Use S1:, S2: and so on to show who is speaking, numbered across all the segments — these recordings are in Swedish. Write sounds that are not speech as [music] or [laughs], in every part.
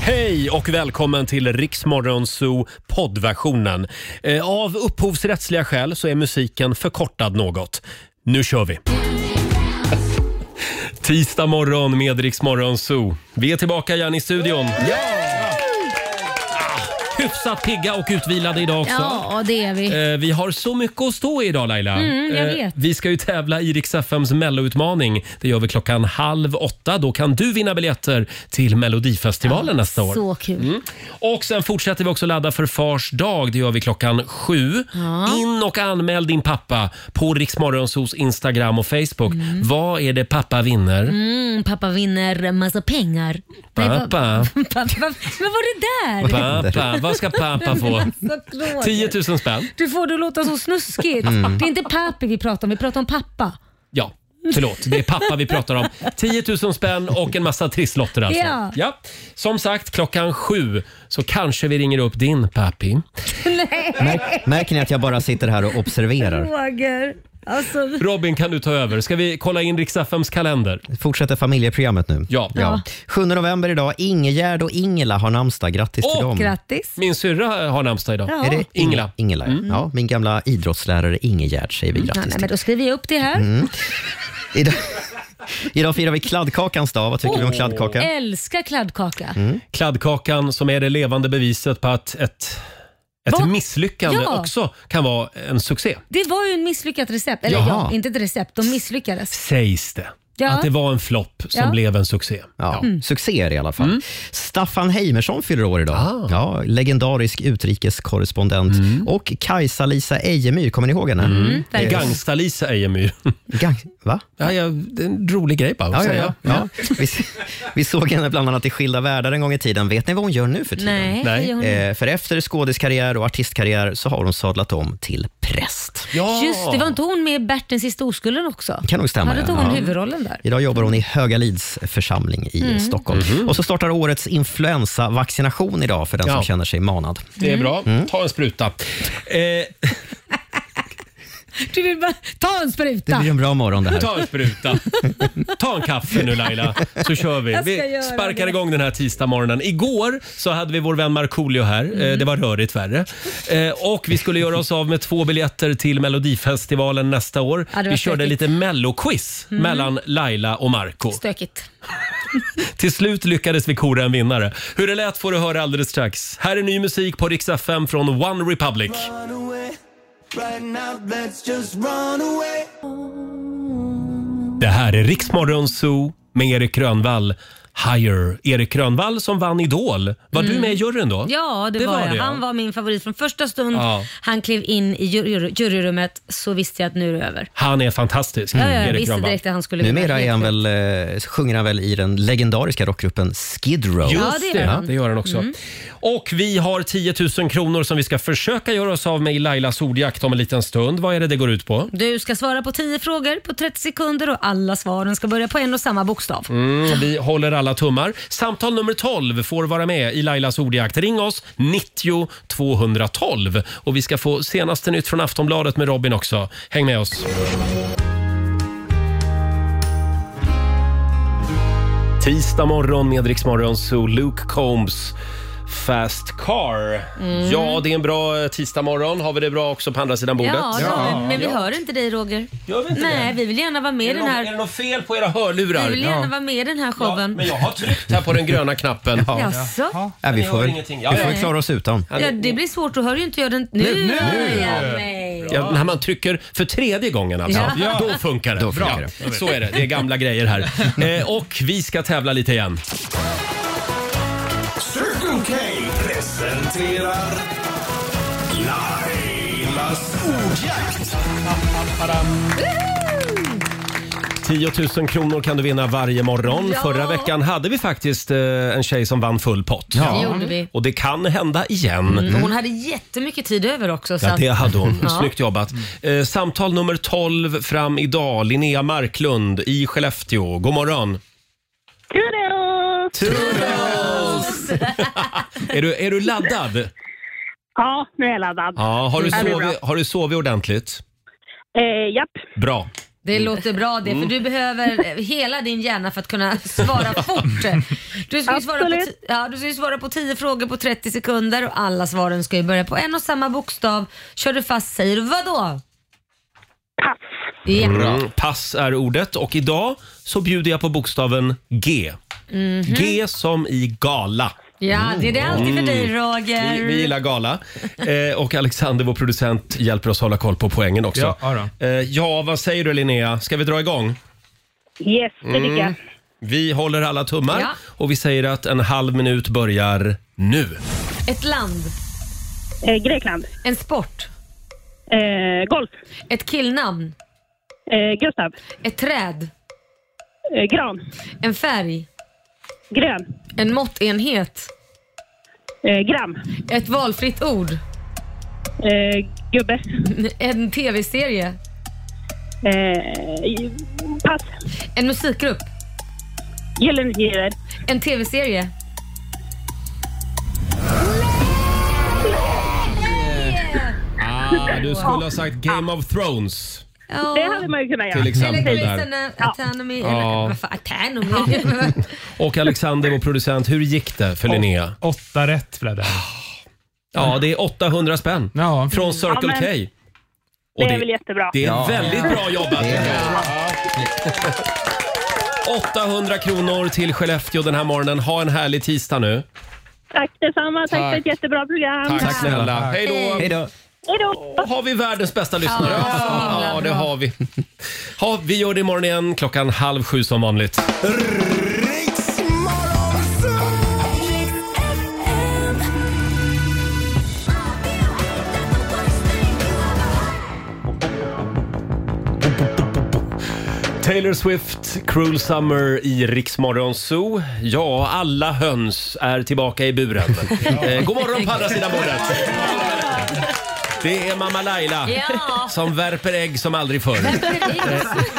S1: Hej och välkommen till Riksmorgon Zoo poddversionen. Eh, Av upphovsrättsliga skäl så är musiken förkortad något. Nu kör vi! [laughs] Tisdag morgon med Riksmorgon Zoo. Vi är tillbaka igen i studion. Ja! Hyfsat pigga och utvilade idag också.
S2: Ja, det är vi.
S1: Eh, Vi har så mycket att stå i idag Laila.
S2: Mm, jag
S1: Eh,
S2: vet.
S1: Vi ska ju tävla i Rix FMs melloutmaning. Det gör vi klockan halv åtta. Då kan du vinna biljetter till Melodifestivalen nästa år.
S2: Ah,
S1: Mm.
S2: Så kul.
S1: Och sen fortsätter vi också ladda för Fars dag. Det gör vi klockan sju. In och anmäl din pappa på Riksmorgonsos Instagram och Facebook. Vad är det pappa vinner?
S2: Mm, pappa vinner massa pengar.
S1: Pappa.
S2: vad- [laughs] pappa. Men vad är det där?
S1: Pappa, vad ska
S2: [laughs]
S1: pappa få?
S2: Så Roger.
S1: 10 000 spänn.
S2: Du får det att låta så snuskigt.
S3: Mm.
S2: Det är inte pappi vi pratar om, vi pratar om pappa. [laughs]
S1: Ja, förlåt. Det är pappa vi pratar om. 10 000 spänn och en massa trisslotter alltså.
S2: Ja.
S1: Som sagt, klockan sju så kanske vi ringer upp din pappi.
S3: Märk, märker ni att jag bara sitter här och observerar?
S2: Roger. Alltså,
S1: Robin, kan du ta över? Ska vi kolla in Riks-FMs kalender?
S3: Fortsätter familjeprogrammet nu.
S1: Ja.
S3: 7 november idag. Ingegärd och Ingela har namnsdag. Grattis
S1: Åh,
S3: till dem.
S2: grattis.
S1: Min syrra har namnsdag idag.
S2: Ja.
S3: Är det Inge-
S1: Ingela. Mm.
S3: Ingela ja. ja, min gamla idrottslärare Ingegärd säger vi
S2: Mm. Ja,
S3: grattis
S2: nej,
S3: till.
S2: men då skriver jag upp det
S3: Mm.
S2: här.
S3: Idag, idag firar vi kladdkakans dag. Vad tycker du [laughs] om
S1: Åh.
S2: Eh.
S3: kladdkaka? Mm.
S2: Älskar kladdkaka.
S1: Kladdkakan som är det levande beviset på att ett, ett
S2: Vad?
S1: misslyckande
S2: Ja.
S1: också kan vara en succé.
S2: Det var ju en misslyckat recept. Eller
S3: Jaha.
S2: ja, inte ett recept. De misslyckades.
S1: Sägs det.
S2: Ja.
S1: Att det var en flopp som
S2: Ja. Mm.
S1: blev en succé. Mm.
S3: Ja, Succéer i alla fall. Staffan Heimersson fyller år idag.
S1: Ah. Mm.
S3: Ja, legendarisk utrikeskorrespondent. Och Kajsa-Lisa Ejemyr, kommer ni ihåg henne? Mm.
S1: Ja.
S2: Verkligen.
S1: Gangsta-Lisa Ejemyr.
S3: Va?
S1: Ja, ja, det är en rolig grej bara att
S3: Ja, ja,
S1: säga.
S3: ja. ja. Vi, vi såg henne bland annat i Skilda världar en gång i tiden. Vet ni vad hon gör nu för tiden?
S2: Nej,
S1: Nej.
S2: det gör hon inte.
S3: Eh, för efter skådiskarriär och artistkarriär så har hon sadlat om till präst.
S1: Ja.
S2: Just det, var inte hon med i Bert den sista oskulden också?
S3: Kan nog stämma,
S2: Ja, då tog
S3: ja.
S2: hon
S3: Ja.
S2: huvudrollen där.
S3: Idag jobbar hon i Högalids församling i
S2: Mm.
S3: Stockholm. Och så startar årets influensavaccination idag för den
S1: Mhm. Ja.
S3: som känner sig manad. Mm.
S1: Det är bra. Ta en spruta. Eh,
S2: [laughs] Du vill bara ta en
S3: Det
S2: spruta.
S3: blir en bra morgon det här.
S1: ta en spruta. Ta en kaffe nu Laila, så kör vi.
S2: Jag ska
S1: Vi
S2: göra
S1: sparkar
S2: det.
S1: igång den här tisdagsmorgonen. Igår så hade vi vår vän Markoolio här.
S2: Mm.
S4: Mm.
S1: Eh, Det var rörigt värre. Eh, Och vi skulle göra oss av med två biljetter till Melodifestivalen nästa år.
S2: Ja, det var Mm.
S1: vi körde
S2: stökigt.
S1: lite melloquiz mellan Laila och Marco.
S2: Stökigt.
S1: Till slut lyckades vi kora en vinnare. Hur det lät får du höra alldeles strax. Här är ny musik på Rix FM från One Republic. Det här är Riksmorgon Zoo med Erik Grönvall. Higher. Erik Grönvall som vann Idol. Var du med i juryn då?
S2: Mm. Ja, det,
S1: Det
S2: var,
S1: var
S2: jag.
S1: det, ja.
S2: Han var min favorit från första stund.
S1: Ja.
S2: Han klev in i jury, juryrummet så visste jag att nu är det över.
S1: Han är fantastisk,
S2: Ja, ja, jag
S1: Erik
S2: visste
S1: Grönvall.
S2: direkt att han skulle
S3: Mm. Numera
S2: vinna.
S3: är han väl, eh, sjunger han väl i den legendariska rockgruppen Skid Row.
S1: Just
S2: Ja, det
S1: det,
S2: gör han. Mm.
S1: det gör han också. Och vi har 10 000 kronor som vi ska försöka göra oss av med i Lailas ordjakt om en liten stund. Vad är det det går ut på?
S2: Du ska svara på 10 frågor på 30 sekunder och alla svaren ska börja på en och samma bokstav.
S1: Mm, vi håller alla tummar. Samtal nummer 12 får vara med i Lailas ordjakt. Ring oss, 90 212. Och vi ska få senaste nytt från Aftonbladet med Robin också. Häng med oss. 'Tisdag morgon med Rix Morgon, så Luke Combs Fast Car.
S2: Mm.
S1: Ja, det är en bra eh, tisdag morgon. Har vi det bra också på andra sidan bordet?
S2: Ja, ja. Men, men vi hör inte dig Roger.
S1: Gör vi inte
S2: Nej,
S1: det?
S2: vi vill gärna vara med i
S1: Är det,
S2: den
S1: något, är
S2: här
S1: det något fel på era hörlurar?
S2: vi vill gärna
S1: Ja.
S2: vara med i den här
S1: Ja,
S2: showen.
S1: men jag har tryckt här på den gröna knappen.
S2: [laughs] Jaså?
S3: Ja, vi
S1: Ni
S3: får
S1: hör
S3: väl,
S1: ingenting. Ja,
S3: vi får
S1: ja.
S3: väl klara oss utan.
S2: Ja, det blir svårt. Då hör ju inte jag den... Nu, nu, nu.
S1: Ja, när man trycker för tredje gången alltså.
S2: Ja.
S1: Då funkar det.
S3: Då funkar
S1: Bra. Så är det. Det är gamla grejer här.
S3: [laughs]
S1: Eh, och vi ska tävla lite igen.
S5: Circle K presenterar Lailas ordjakt.
S1: 10 000 kronor kan du vinna varje morgon.
S2: Ja.
S1: Förra veckan hade vi faktiskt eh, en tjej som vann full pott.
S2: Det gjorde vi.
S1: Och det kan hända igen.
S2: Och Mm. Hon hade jättemycket tid över också. Så
S1: Mm. Ja,
S2: att,
S1: det hade hon.
S2: Ja. Mm.
S1: Snyggt jobbat. Eh, samtal nummer 12 fram idag. Linnea Marklund i Skellefteå. God morgon.
S6: Kudos!
S1: Är du, är du laddad?
S6: Ja, nu är jag laddad.
S1: Ja, har, du
S6: Det blir bra.
S1: sovit, har du sovit ordentligt?
S6: Eh, japp.
S1: Bra.
S2: Det låter bra det,
S1: Mm.
S2: för du behöver hela din hjärna för att
S1: [laughs]
S2: kunna svara fort. Du ska, ju svara på
S6: Absolut.
S2: ti- ja, du ska ju svara på 10 frågor på 30 sekunder och alla svaren ska ju börja på en och samma bokstav. Kör du fast säger du vadå?
S6: Pass.
S2: Ja.
S1: Mm. Pass är ordet och idag så bjuder jag på bokstaven G.
S6: Mhm.
S1: G som i gala.
S2: Mhm. ja, det är det alltid för dig
S1: Mm. Vi,
S2: Roger.
S1: vi gillar gala. Eh, och Alexander, vår producent, hjälper oss hålla koll på poängen också.
S4: Ja, ja
S1: eh, ja, vad säger du Linnea? Ska vi dra igång?
S6: Yes,
S1: Mm.
S6: det tycker jag.
S1: Vi håller alla tummar
S2: Ja.
S1: och vi säger att en halv minut börjar nu.
S2: Ett land,
S6: Eh, Grekland.
S2: en sport,
S6: Eh, golf.
S2: ett killnamn,
S6: Eh, Gustav.
S2: ett träd,
S6: Eh, gran.
S2: en färg,
S6: Grön.
S2: en måttenhet,
S6: Eh, gram.
S2: ett valfritt ord,
S6: Eh, gubbe.
S2: [laughs] en tv-serie,
S6: Eh, i- pass.
S2: en musikgrupp,
S6: Gyllene Tider.
S2: en tv-serie.
S1: Ah, du skulle ha sagt Game of Thrones
S2: Ja.
S6: Det hade man ju kunnat göra.
S1: till exempel.
S2: Eller
S1: Där.
S2: Grey's Anatomy.
S1: Ja.
S2: eller Vad fan, Anatomy?
S1: Och Alexander, vår producent, hur gick det för Linnea?
S4: Åtta rätt blev det.
S1: Ja, det är 800 spänn
S4: Ja.
S1: från Circle
S6: Ja, men-
S1: K.
S6: Det
S1: Och
S6: är väl jättebra.
S1: det är
S3: Ja.
S1: väldigt bra jobbat. 800 kronor till Skellefteå den här morgonen. Ha en härlig tisdag nu.
S6: Tack detsamma. Tack,
S1: Tack.
S6: för ett jättebra program.
S1: Tack, snälla.
S4: Tack.
S1: Hej då.
S3: Hej då.
S6: Hej då!
S1: Har vi världens bästa lyssnare?
S2: Ja, så
S1: Ja,
S2: himla
S1: det
S2: bra.
S1: har vi. Ja, vi gör det imorgon igen klockan halv sju som vanligt.
S5: Riks Morgonzoo!
S1: Taylor Swift, Cruel Summer i Riksmorgon Zoo. Ja, alla höns är tillbaka i buren. eh, god morgon på andra sidan bordet. Det är mamma Laila
S2: [laughs] Ja.
S1: som värper ägg som aldrig förr.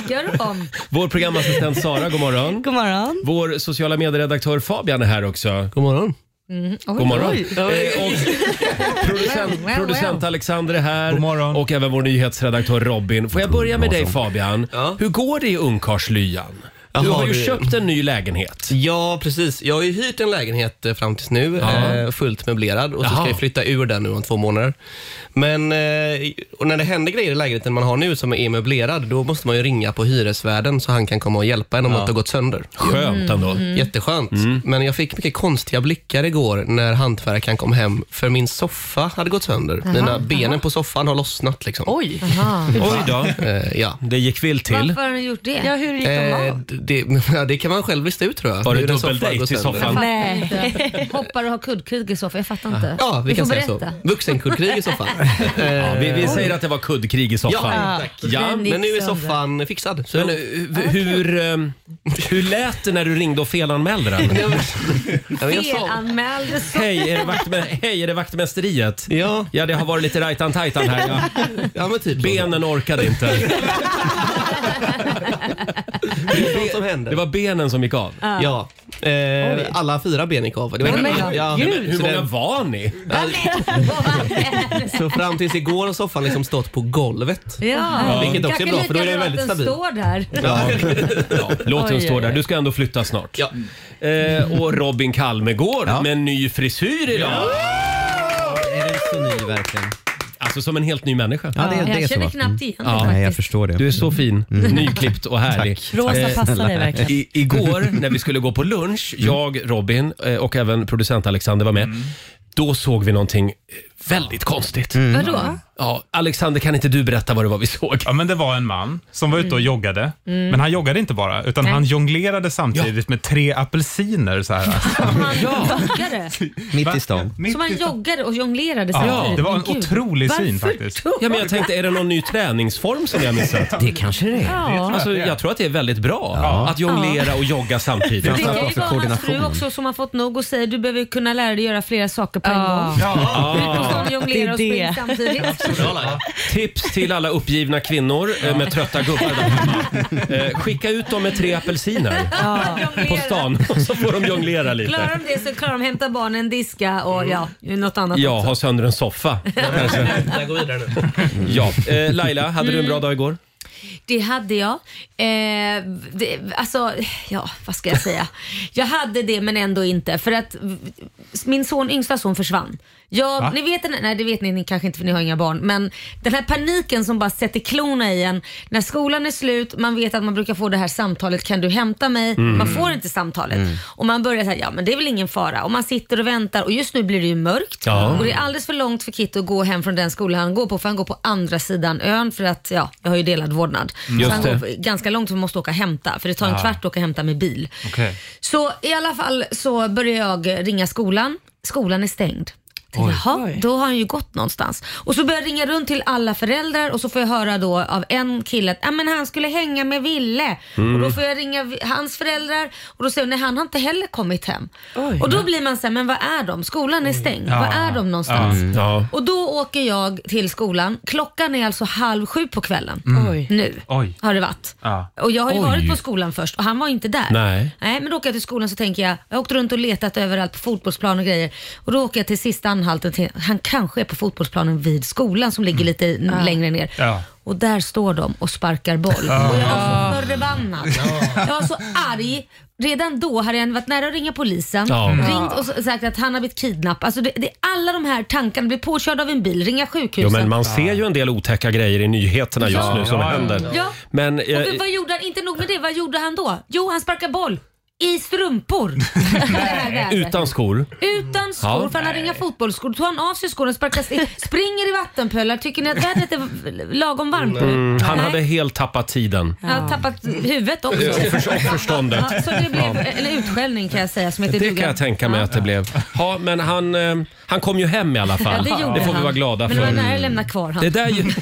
S2: Gör om.
S1: Vår programassistent Sara, god morgon.
S7: God morgon.
S1: Vår sociala medieredaktör Fabian är här också.
S8: God morgon.
S2: Oj,
S1: God morgon.
S2: Mm-hmm. oj.
S1: Eh,
S2: [laughs]
S1: och producent,
S2: Well, well,
S1: producent
S2: well.
S1: Alexander är här
S4: God morgon.
S1: och även vår nyhetsredaktör Robin. Får jag börja med dig Fabian?
S8: Ja.
S1: Hur går det i ungkarlslyan? Du
S8: Jaha,
S1: har ju
S8: det-
S1: köpt en ny lägenhet.
S8: Ja, precis. Jag har ju hyrt en lägenhet eh, fram tills nu,
S1: Ja.
S8: eh, fullt möblerad och så
S1: Jaha.
S8: ska jag flytta ur den nu om två månader. Men eh, och när det händer grejer i lägenheten man har nu som är möblerad, då måste man ju ringa på hyresvärden så han kan komma och hjälpa en om något har gått sönder.
S1: Skönt ändå. Mm.
S8: Jätteskönt. Men jag fick mycket konstiga blickar igår när hantverkaren kom hem för min soffa hade gått sönder. Mina benen på soffan har lossnat. Liksom.
S7: Oj.
S1: Oj då.
S8: Eh, ja.
S1: Det gick vilt till.
S2: Varför har han gjort det?
S7: Ja, hur gick de
S8: Eh,
S7: av?
S8: det, ja, det kan man själv lista ut tror jag.
S1: Var det
S8: Hur en soffa
S1: dubbeldejt
S8: har gått
S1: i
S8: sönder.
S1: soffan?
S2: Jag fattar
S7: Nej.
S2: inte. Hoppar och har kuddkrig i soffan. Jag fattar inte.
S8: Ja, vi
S2: Du
S8: kan
S2: får
S8: säga
S2: berätta.
S8: så. Vuxenkuddkrig i
S2: [laughs]
S8: soffan. Eh,
S1: Ja, vi, vi säger att det var kuddkrig i soffan.
S8: Ja,
S1: Ja.
S2: gick
S8: Men nu är
S2: sönder.
S8: soffan fixad. Så
S1: Men, eh, hur, hur, eh, hur lät det när du ringde och felanmälde den?
S8: jag, jag, jag sa,
S2: Felanmäld så.
S1: Hej, är det, vaktmä- hej, är det vaktmästeriet?
S8: ja,
S1: Ja, det har varit lite rajtan-tajtan här. Ja.
S8: [laughs] ja, men typ. så.
S1: Benen orkade inte.
S8: [laughs] Det är sånt som händer.
S1: Det var benen som gick av.
S8: ja. Eh, alla fyra ben gick av. Det var
S2: Åh, men
S8: ja,
S1: Men hur
S8: så,
S1: många
S8: det,
S1: var ni?
S8: så fram tills igår har soffan liksom stått på golvet.
S2: Ja.
S8: Vilket också är
S2: Kanske
S8: bra, för då är
S2: lika
S8: den
S2: bra
S8: väldigt
S2: att den
S8: stabil.
S2: står där.
S8: Ja.
S1: Ja, låt den
S7: Oj,
S1: stå
S7: oj,
S1: där.
S7: oj.
S1: Du ska ändå flytta snart.
S8: Ja.
S1: Eh, och Robin Kalmegård med en ny frisyr idag.
S3: Är det så ny verkligen?
S1: Alltså som en helt ny människa. Mm.
S3: Ja, det, det är
S2: Jag
S3: så.
S2: känner knappt igen
S1: Ja.
S2: den
S3: Nej, jag
S2: faktiskt.
S3: förstår det. Mm.
S1: Du är så fin,
S4: Mm.
S1: [laughs] nyklippt och härlig. Eh,
S7: Rosa passar dig verkligen.
S1: I, igår när vi skulle gå på lunch,
S4: Mm.
S1: jag, Robin eh, och även producent Alexander var med. Då såg vi någonting eh, väldigt konstigt.
S2: Vadå?
S1: Ja, Alexander, kan inte du berätta vad det var vi såg?
S4: Mm.
S1: Mm.
S4: Ja, men det var en man som var ute och joggade. Men han joggade inte bara, utan han jonglerade samtidigt med tre apelsiner. Så
S1: [laughs]
S4: här.
S2: Som han joggade.
S3: Mitt i stan.
S4: Mitt
S2: Som han
S4: i stan.
S2: joggade och jonglerade
S4: Ja,
S2: samtidigt.
S4: det var en
S2: Men gud,
S4: otrolig syn
S2: varför
S4: faktiskt.
S2: då?
S1: Ja, men jag tänkte, är det någon ny träningsform som jag missat?
S3: Det kanske det är.
S2: Ja.
S1: Alltså,
S4: det är.
S1: jag tror att det är väldigt bra att jonglera och jogga samtidigt.
S2: Det kan ju
S3: Alltså,
S2: vara hans fru
S3: koordination.
S2: också som har fått nog och säger du behöver kunna lära dig göra flera saker på en
S7: Ja.
S2: gång. Ut och
S1: Ah.
S2: stå och jonglera och
S7: Det är
S2: spring
S7: det.
S2: samtidigt.
S1: Tips till alla uppgivna kvinnor eh, med trötta gubbar där hemma. Eh, Skicka ut dem med tre apelsiner på stan [laughs] så får de jonglera lite.
S2: Klarar de det så klarar de hämta barnen, diska och ja, något annat
S1: Ja,
S2: också.
S1: ha sönder en soffa.
S8: Jag går vidare nu.
S2: Mm.
S1: Ja. Eh, Laila, hade du en bra dag igår?
S2: Det hade jag. Eh, det, alltså, ja, vad ska jag säga? Jag hade det men ändå inte. För att v- min son, yngsta son försvann. Jag, ni vet, den- nej det vet ni, ni kanske inte för ni har inga barn. Men den här paniken som bara sätter klorna i en. När skolan är slut, man vet att man brukar få det här samtalet, kan du hämta mig? Man får inte samtalet. Och man börjar säga, ja men det är väl ingen fara. Och man sitter och väntar och just nu blir det ju mörkt.
S1: Ja.
S2: Och det är alldeles för långt för Kit att gå hem från den skola han går på för han går på andra sidan ön för att, ja, jag har ju delad vårdnad. Så
S1: Mm. Just
S2: han
S1: det.
S2: går ganska långt för man måste åka och hämta för det tar en kvart att åka och hämta med bil.
S4: Okej.
S2: Så i alla fall så börjar jag ringa skolan. Skolan är stängd. Tänkte, Jaha, då har han ju gått någonstans. Och så börjar jag ringa runt till alla föräldrar och så får jag höra då av en kille att "Ja, men han skulle hänga med Ville. Och
S1: Mm.
S2: då får jag ringa vi- hans föräldrar och då säger de nej han har inte heller kommit hem. och då blir man så här, men vad är de? Skolan är stängd. Var är de någonstans?
S1: Mm. Ja.
S2: Och då åker jag till skolan. Klockan är alltså halv sju på kvällen.
S7: Oj.
S2: Nu
S4: Oj.
S2: har det varit.
S4: Ja.
S2: Och jag har ju
S1: Mm. Oj.
S2: varit på skolan först och han var inte där.
S1: Nej.
S2: men då åker jag till skolan så tänker jag, jag har åkt runt och letat överallt på fotbollsplan och grejer. Och då åker jag till sista anhalten, till, han kanske är på fotbollsplanen vid skolan som ligger lite n- längre ner.
S4: Ja.
S2: Och där står de och sparkar boll. Och jag var så förbannad. Jag var så arg. Redan då hade jag varit nära att ringa polisen,
S1: Ja.
S2: ringt och s- sagt att han har blivit kidnappad. Alltså det, det, alla de här tankarna, blir påkörd av en bil, ringa sjukhuset.
S1: Jo, men man ser ju en del otäcka grejer i nyheterna just
S2: Ja.
S1: nu som
S4: Ja, ja.
S1: händer.
S2: Ja.
S1: Men eh,
S2: Och vad gjorde han? Inte nog med det, vad gjorde han då? Jo, han sparkade boll. I strumpor.
S1: [laughs]
S2: [laughs] Det här vädret.
S1: utan skor.
S2: Utan skor,
S1: Ja.
S2: för han hade inga fotbollsskor. Då tog han av sig skorna, sparkade, i- springer i vattenpölar. Tycker ni att vädret är lagom varmt?
S1: Mm, han
S2: Nej.
S1: hade helt tappat tiden.
S2: Han har tappat huvudet också.
S1: Och förståndet.
S2: Ja, så det blev en utskällning kan jag säga som heter
S1: Det
S2: duga.
S1: kan jag tänka mig att det blev. Ja, men han, eh, han kom ju hem i alla
S2: Ja,
S1: fall.
S2: det gjorde
S1: får vi
S2: han.
S1: vara glada
S2: Men det var
S1: för.
S2: nära att lämna kvar han.
S1: Det där, ju-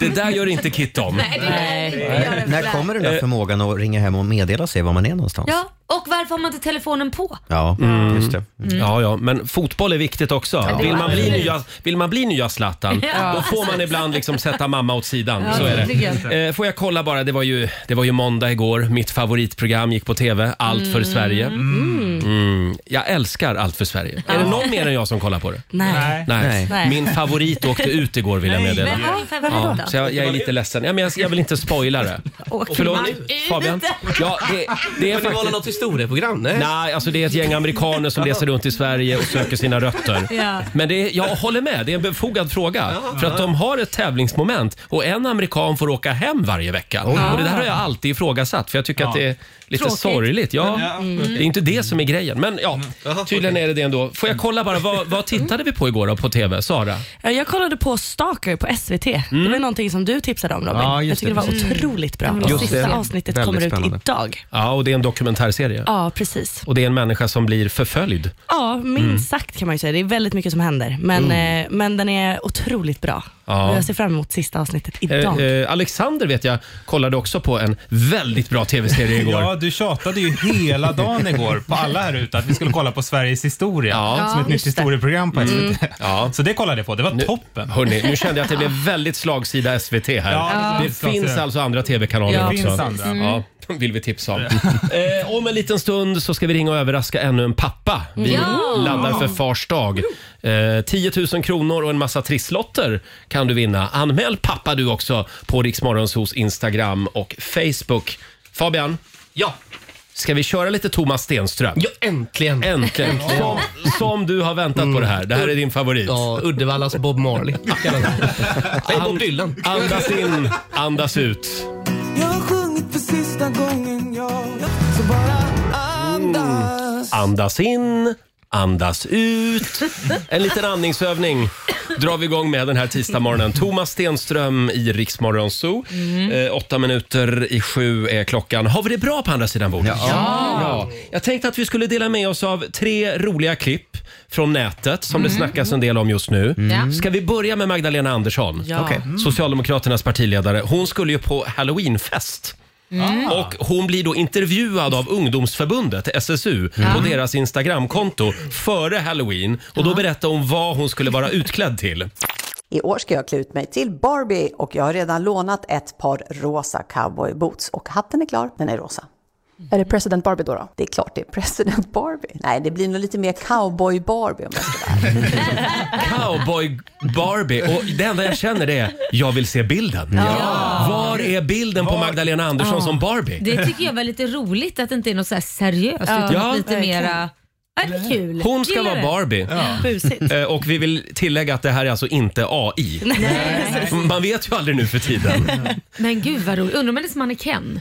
S1: det där gör inte Kit
S2: [laughs]
S1: om. Eh.
S2: Nej, det är det gör det
S3: När
S2: väl.
S3: kommer den där förmågan att ringa hem och meddela sig var man är någonstans?
S2: Ja, och varför har man inte telefonen på? Mm.
S3: Ja,
S1: Mm.
S3: just det.
S1: Ja, ja, men fotboll är viktigt också.
S2: det är
S1: Vill, man bli
S2: absolut.
S1: nya, vill man bli nya Zlatan,
S2: Ja.
S1: då får man ibland liksom sätta mamma åt sidan.
S2: Ja,
S1: Så är
S2: verkligen.
S1: det. Eh, Får jag kolla bara, det var, ju, det var ju måndag igår. Mitt favoritprogram gick på TV, Allt för Sverige. Mm. Jag älskar Allt för Sverige. Är det någon mer än jag som kollar på det?
S7: Nej.
S4: Nej.
S1: Nej.
S7: Nej.
S1: Min favorit åkte ut igår vill jag meddela.
S2: Vem har
S1: Ja,
S2: favorit då?
S1: så jag, jag är lite ledsen. Ja, men jag, jag vill inte spoila det.
S2: Åker
S1: Förlåt,
S2: man ut? [laughs]
S1: Fabian? Ja, det, det är
S8: Men det var väl
S1: faktiskt...
S8: något historieprogram? Nej.
S1: Nej, alltså det är ett gäng amerikaner som reser runt i Sverige och söker sina rötter.
S2: Ja.
S1: Men det är, jag håller med, det är en befogad fråga. För att de har ett tävlingsmoment och en amerikan får åka hem varje vecka. Och det där har jag alltid ifrågasatt för jag tycker att det är lite
S2: Tråkigt.
S1: sorgligt. Ja, Det är inte det som är grejen. Men ja, tydligen är det det ändå. Får jag kolla bara, vad, vad tittade vi på igår då på TV? Sara?
S7: Eh, Jag kollade på Stalker på SVT. Det var
S1: Mm.
S7: någonting som du tipsade om Robin.
S3: Ja,
S7: jag
S3: just
S7: tycker det
S3: det. Mm.
S7: var otroligt bra.
S3: Just
S7: Sista
S3: det.
S7: avsnittet
S3: Väldigt
S7: kommer ut
S3: spännande.
S7: idag.
S1: Ja, och det är en dokumentärserie.
S7: Ja, precis.
S1: Och det är en människa som blir förföljd.
S7: Ja, minst
S1: Mm.
S7: sagt kan man ju säga. Det är väldigt mycket som händer. Men, eh, men den är otroligt bra.
S1: Ja.
S7: Och Jag ser fram emot sista avsnittet
S1: Eh,
S7: idag.
S1: eh, Alexander vet jag kollade också på en väldigt bra [laughs] TV-serie igår.
S4: Ja, du tjatade ju hela dagen igår på alla här ute att vi skulle kolla på Sveriges historia
S1: Ja. Mm.
S4: som ett nytt historieprogram på SVT. [laughs]
S1: Ja.
S4: Så det kollade jag på. Det var toppen.
S1: Hörrni, nu kände jag att det blev väldigt slagsida SVT här.
S4: Ja, det blev
S1: Det
S4: slagsida.
S1: finns alltså andra TV-kanaler
S7: Ja.
S1: också.
S4: Det finns andra.
S1: Ja, de vill vi tipsa om. eh, om en liten stund så ska vi ringa och överraska ännu en pappa. Vi
S2: Ja.
S1: laddar för Fars dag. Eh, 10 000 kronor och en massa trisslotter kan du vinna. Anmäl pappa du också på Riksmorgonsos Instagram och Facebook. Fabian,
S8: Ja.
S1: ska vi köra lite Thomas Stenström?
S8: ja, äntligen. Mm.
S1: Äntligen! Som, som du har väntat på det här. Det här är din favorit.
S8: Ja, Uddevallas Bob Marley. Nej, Bob Dylan.
S1: Andas in, [laughs] andas ut.
S5: Jag har sjungit för sista gången, ja. Så bara andas.
S1: Andas in, andas ut. En liten andningsövning drar vi igång med den här tisdagsmorgonen. Thomas Stenström i Riksmorgon Zoo. Eh, åtta minuter i sju är klockan. Har vi det bra på andra sidan bordet? Ja. Jag tänkte att vi skulle dela med oss av tre roliga klipp från nätet som det snackas en del om just nu.
S2: Ja.
S1: Ska vi börja med Magdalena Andersson?
S7: Ja.
S3: Okej.
S1: Socialdemokraternas partiledare. Hon skulle ju på halloweenfest.
S4: Mm.
S1: Och hon blir då intervjuad av ungdomsförbundet, SSU, på deras Instagramkonto före halloween. Och då berättar hon vad hon skulle vara utklädd till.
S9: I år ska jag klä ut mig till Barbie och jag har redan lånat ett par rosa cowboyboots och hatten är klar, den är rosa.
S10: Är det President Barbie då? då?
S9: Det är klart det är President Barbie. Nej, det blir nog lite mer cowboy Barbie om jag ska vara ärlig.
S1: Cowboy Barbie. Och det enda jag känner det är, jag vill se bilden. Var är bilden på Magdalena Andersson som Barbie?
S2: Det tycker jag var lite roligt att det inte är något så här seriöst utan
S1: Ja,
S2: lite
S7: verkligen.
S2: mera... Ja, det är kul.
S1: Hon ska
S2: Gillar
S1: vara
S2: det.
S1: Barbie.
S7: Busigt.
S1: Eh, Och vi vill tillägga att det här är alltså inte AI. Man vet ju aldrig nu för tiden.
S2: Men gud vad roligt. Undrar om hennes man är Ken?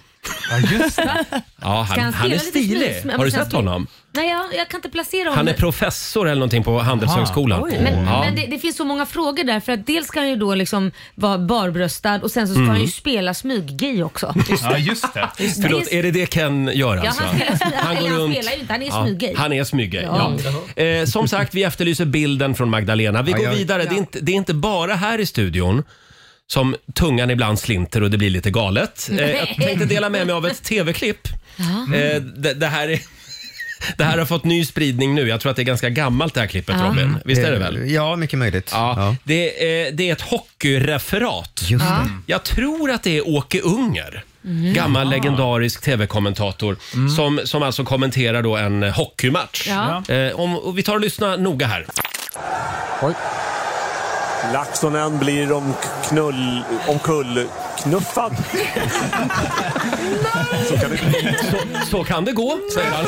S4: Ja, just det.
S1: Ja,
S2: Ska
S1: han, han
S2: spela
S1: är
S2: lite snus?
S1: stilig.
S2: Men
S1: Har du
S2: sen
S1: sett
S2: spela-
S1: honom?
S2: Nej, jag, jag kan inte placera honom.
S1: Han är professor eller någonting på Handelshögskolan.
S2: Men,
S1: Ja.
S2: men det, det finns så många frågor där för att dels ska han ju då liksom vara barbröstad och sen så ska
S1: Mm.
S2: han ju spela smyggay också.
S4: Ja, just det.
S1: Förlåt, är det det Ken gör
S2: Ja,
S1: alltså?
S2: han spelar- eller han spelar ju inte, han är smyggay. [laughs]
S1: Han är smyggay. Ja. Eh, som sagt, vi efterlyser bilden från Magdalena. Vi går vidare. Det, är inte, det är inte bara här i studion som tungan ibland slinter och det blir lite galet. Eh, jag tänkte dela med mig av ett tv-klipp.
S2: Mm.
S1: Eh, det, det här är... [laughs] Det här har fått ny spridning nu. Jag tror att det är ganska gammalt det här klippet
S2: Ja. Mm.
S1: Robin. Visst är det väl?
S3: Eh, Ja, mycket möjligt.
S1: Ja, Det, är, det är ett hockeyreferat. Mm.
S3: Just det.
S1: Jag tror att det är Åke Unger.
S2: Mm.
S5: Mm.
S1: Gammal legendarisk tv-kommentator som, som alltså kommenterar då en eh, hockeymatch.
S2: Ja.
S1: Eh, om, och vi tar och lyssnar noga här.
S5: Laxonen blir om knull, omkull
S1: [laughs]
S5: knuffad. Så kan det
S1: Så, så kan det gå, säger han.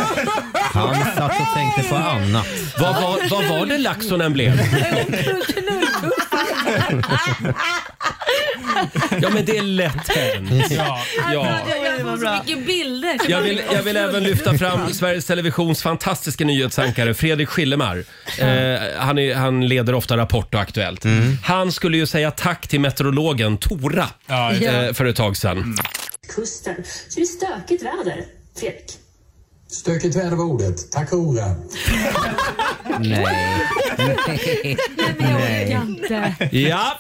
S3: Han satt och tänkte på annat.
S1: Vad var, vad var det Laxonen blev? Ja, men det är lätt hänt.
S4: Ja.
S1: Ja.
S2: Jag får så mycket bilder.
S1: Jag vill, jag vill även lyfta fram Sveriges Televisions fantastiska nyhetsankare Fredrik Skillemar. Eh, han, är, han leder ofta Rapport och Aktuellt.
S4: Mm.
S1: Han skulle ju säga tack till meteorologen Tora
S4: Ja, just Mm.
S1: eh, för ett tag sedan.
S11: kusten. Så det är stökigt väder, Fredrik.
S5: Stökigt väder var ordet. Tack hora.
S3: Nej.
S2: Jag orkar inte.
S1: Ja,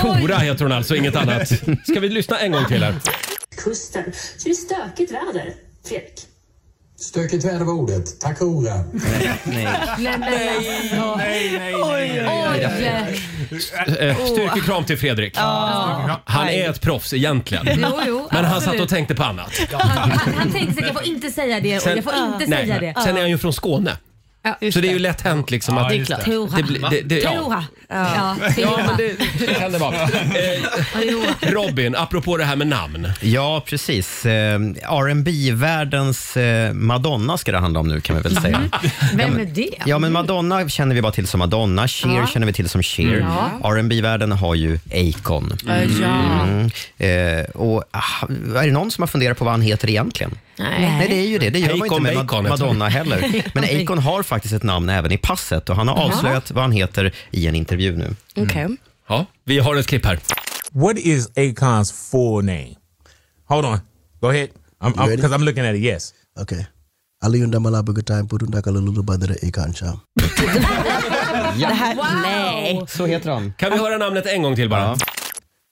S1: Tora heter hon alltså, inget annat. Ska vi lyssna en gång till här?
S11: Kusten. Så det är stökigt väder, Fredrik.
S5: Stökigt väder var ordet. Tack hora.
S2: Nej, men alltså.
S4: Nej, nej, nej.
S2: Oj! Oh.
S1: Eh, Styrkekram till Fredrik. Han är ett proffs egentligen.
S2: Jo, jo,
S1: Men han satt
S2: absolut.
S1: och tänkte på annat.
S2: Han, han, han tänkte sig, jag får inte säga det och
S1: Sen-
S2: jag får inte
S1: Nej.
S2: säga det.
S1: Sen är han ju från Skåne.
S2: Ja, just
S1: Så det är ju lätt hänt liksom
S4: Ja,
S1: att...
S4: det är klart.
S2: Tora.
S1: Det blir- det- det- ja.
S2: Tora. Ja,
S1: Ja,
S2: Tora.
S1: men det, det kan det vara. Eh,
S2: Tora.
S1: Robin, apropå det här med namn.
S3: Ja, precis. Eh, R&B världens eh, Madonna ska det handla om nu kan vi väl säga.
S2: Mm. Vem är det?
S3: Ja,
S7: Mm.
S3: men Madonna känner vi bara till som Madonna. Cher
S2: Ja.
S3: känner vi till som Cher. rb världen har ju Akon.
S7: Mm. Ja.
S3: Mm. Eh, och, ah, är det någon som har funderat på vad han heter egentligen?
S2: Nej.
S3: Nej, det är ju det. Det gör man
S1: Akon
S3: inte med
S1: Bacon,
S3: Ma-
S1: jag tror.
S3: Madonna heller.
S1: [laughs]
S3: Men Akon har faktiskt ett namn även i passet och han har avslöjat vad han heter i en intervju nu.
S7: Okej.
S1: mm. Ja, vi har ett klipp här.
S5: What is Akon's full name? Hold on. Go ahead. I'm because I'm, looking at it. Yes.
S11: Okej. Aliun damala begetai purunda kalululu badare ikansha.
S7: Det här,
S2: Wow.
S7: nej.
S3: Så heter han.
S1: Kan vi höra namnet en gång till bara?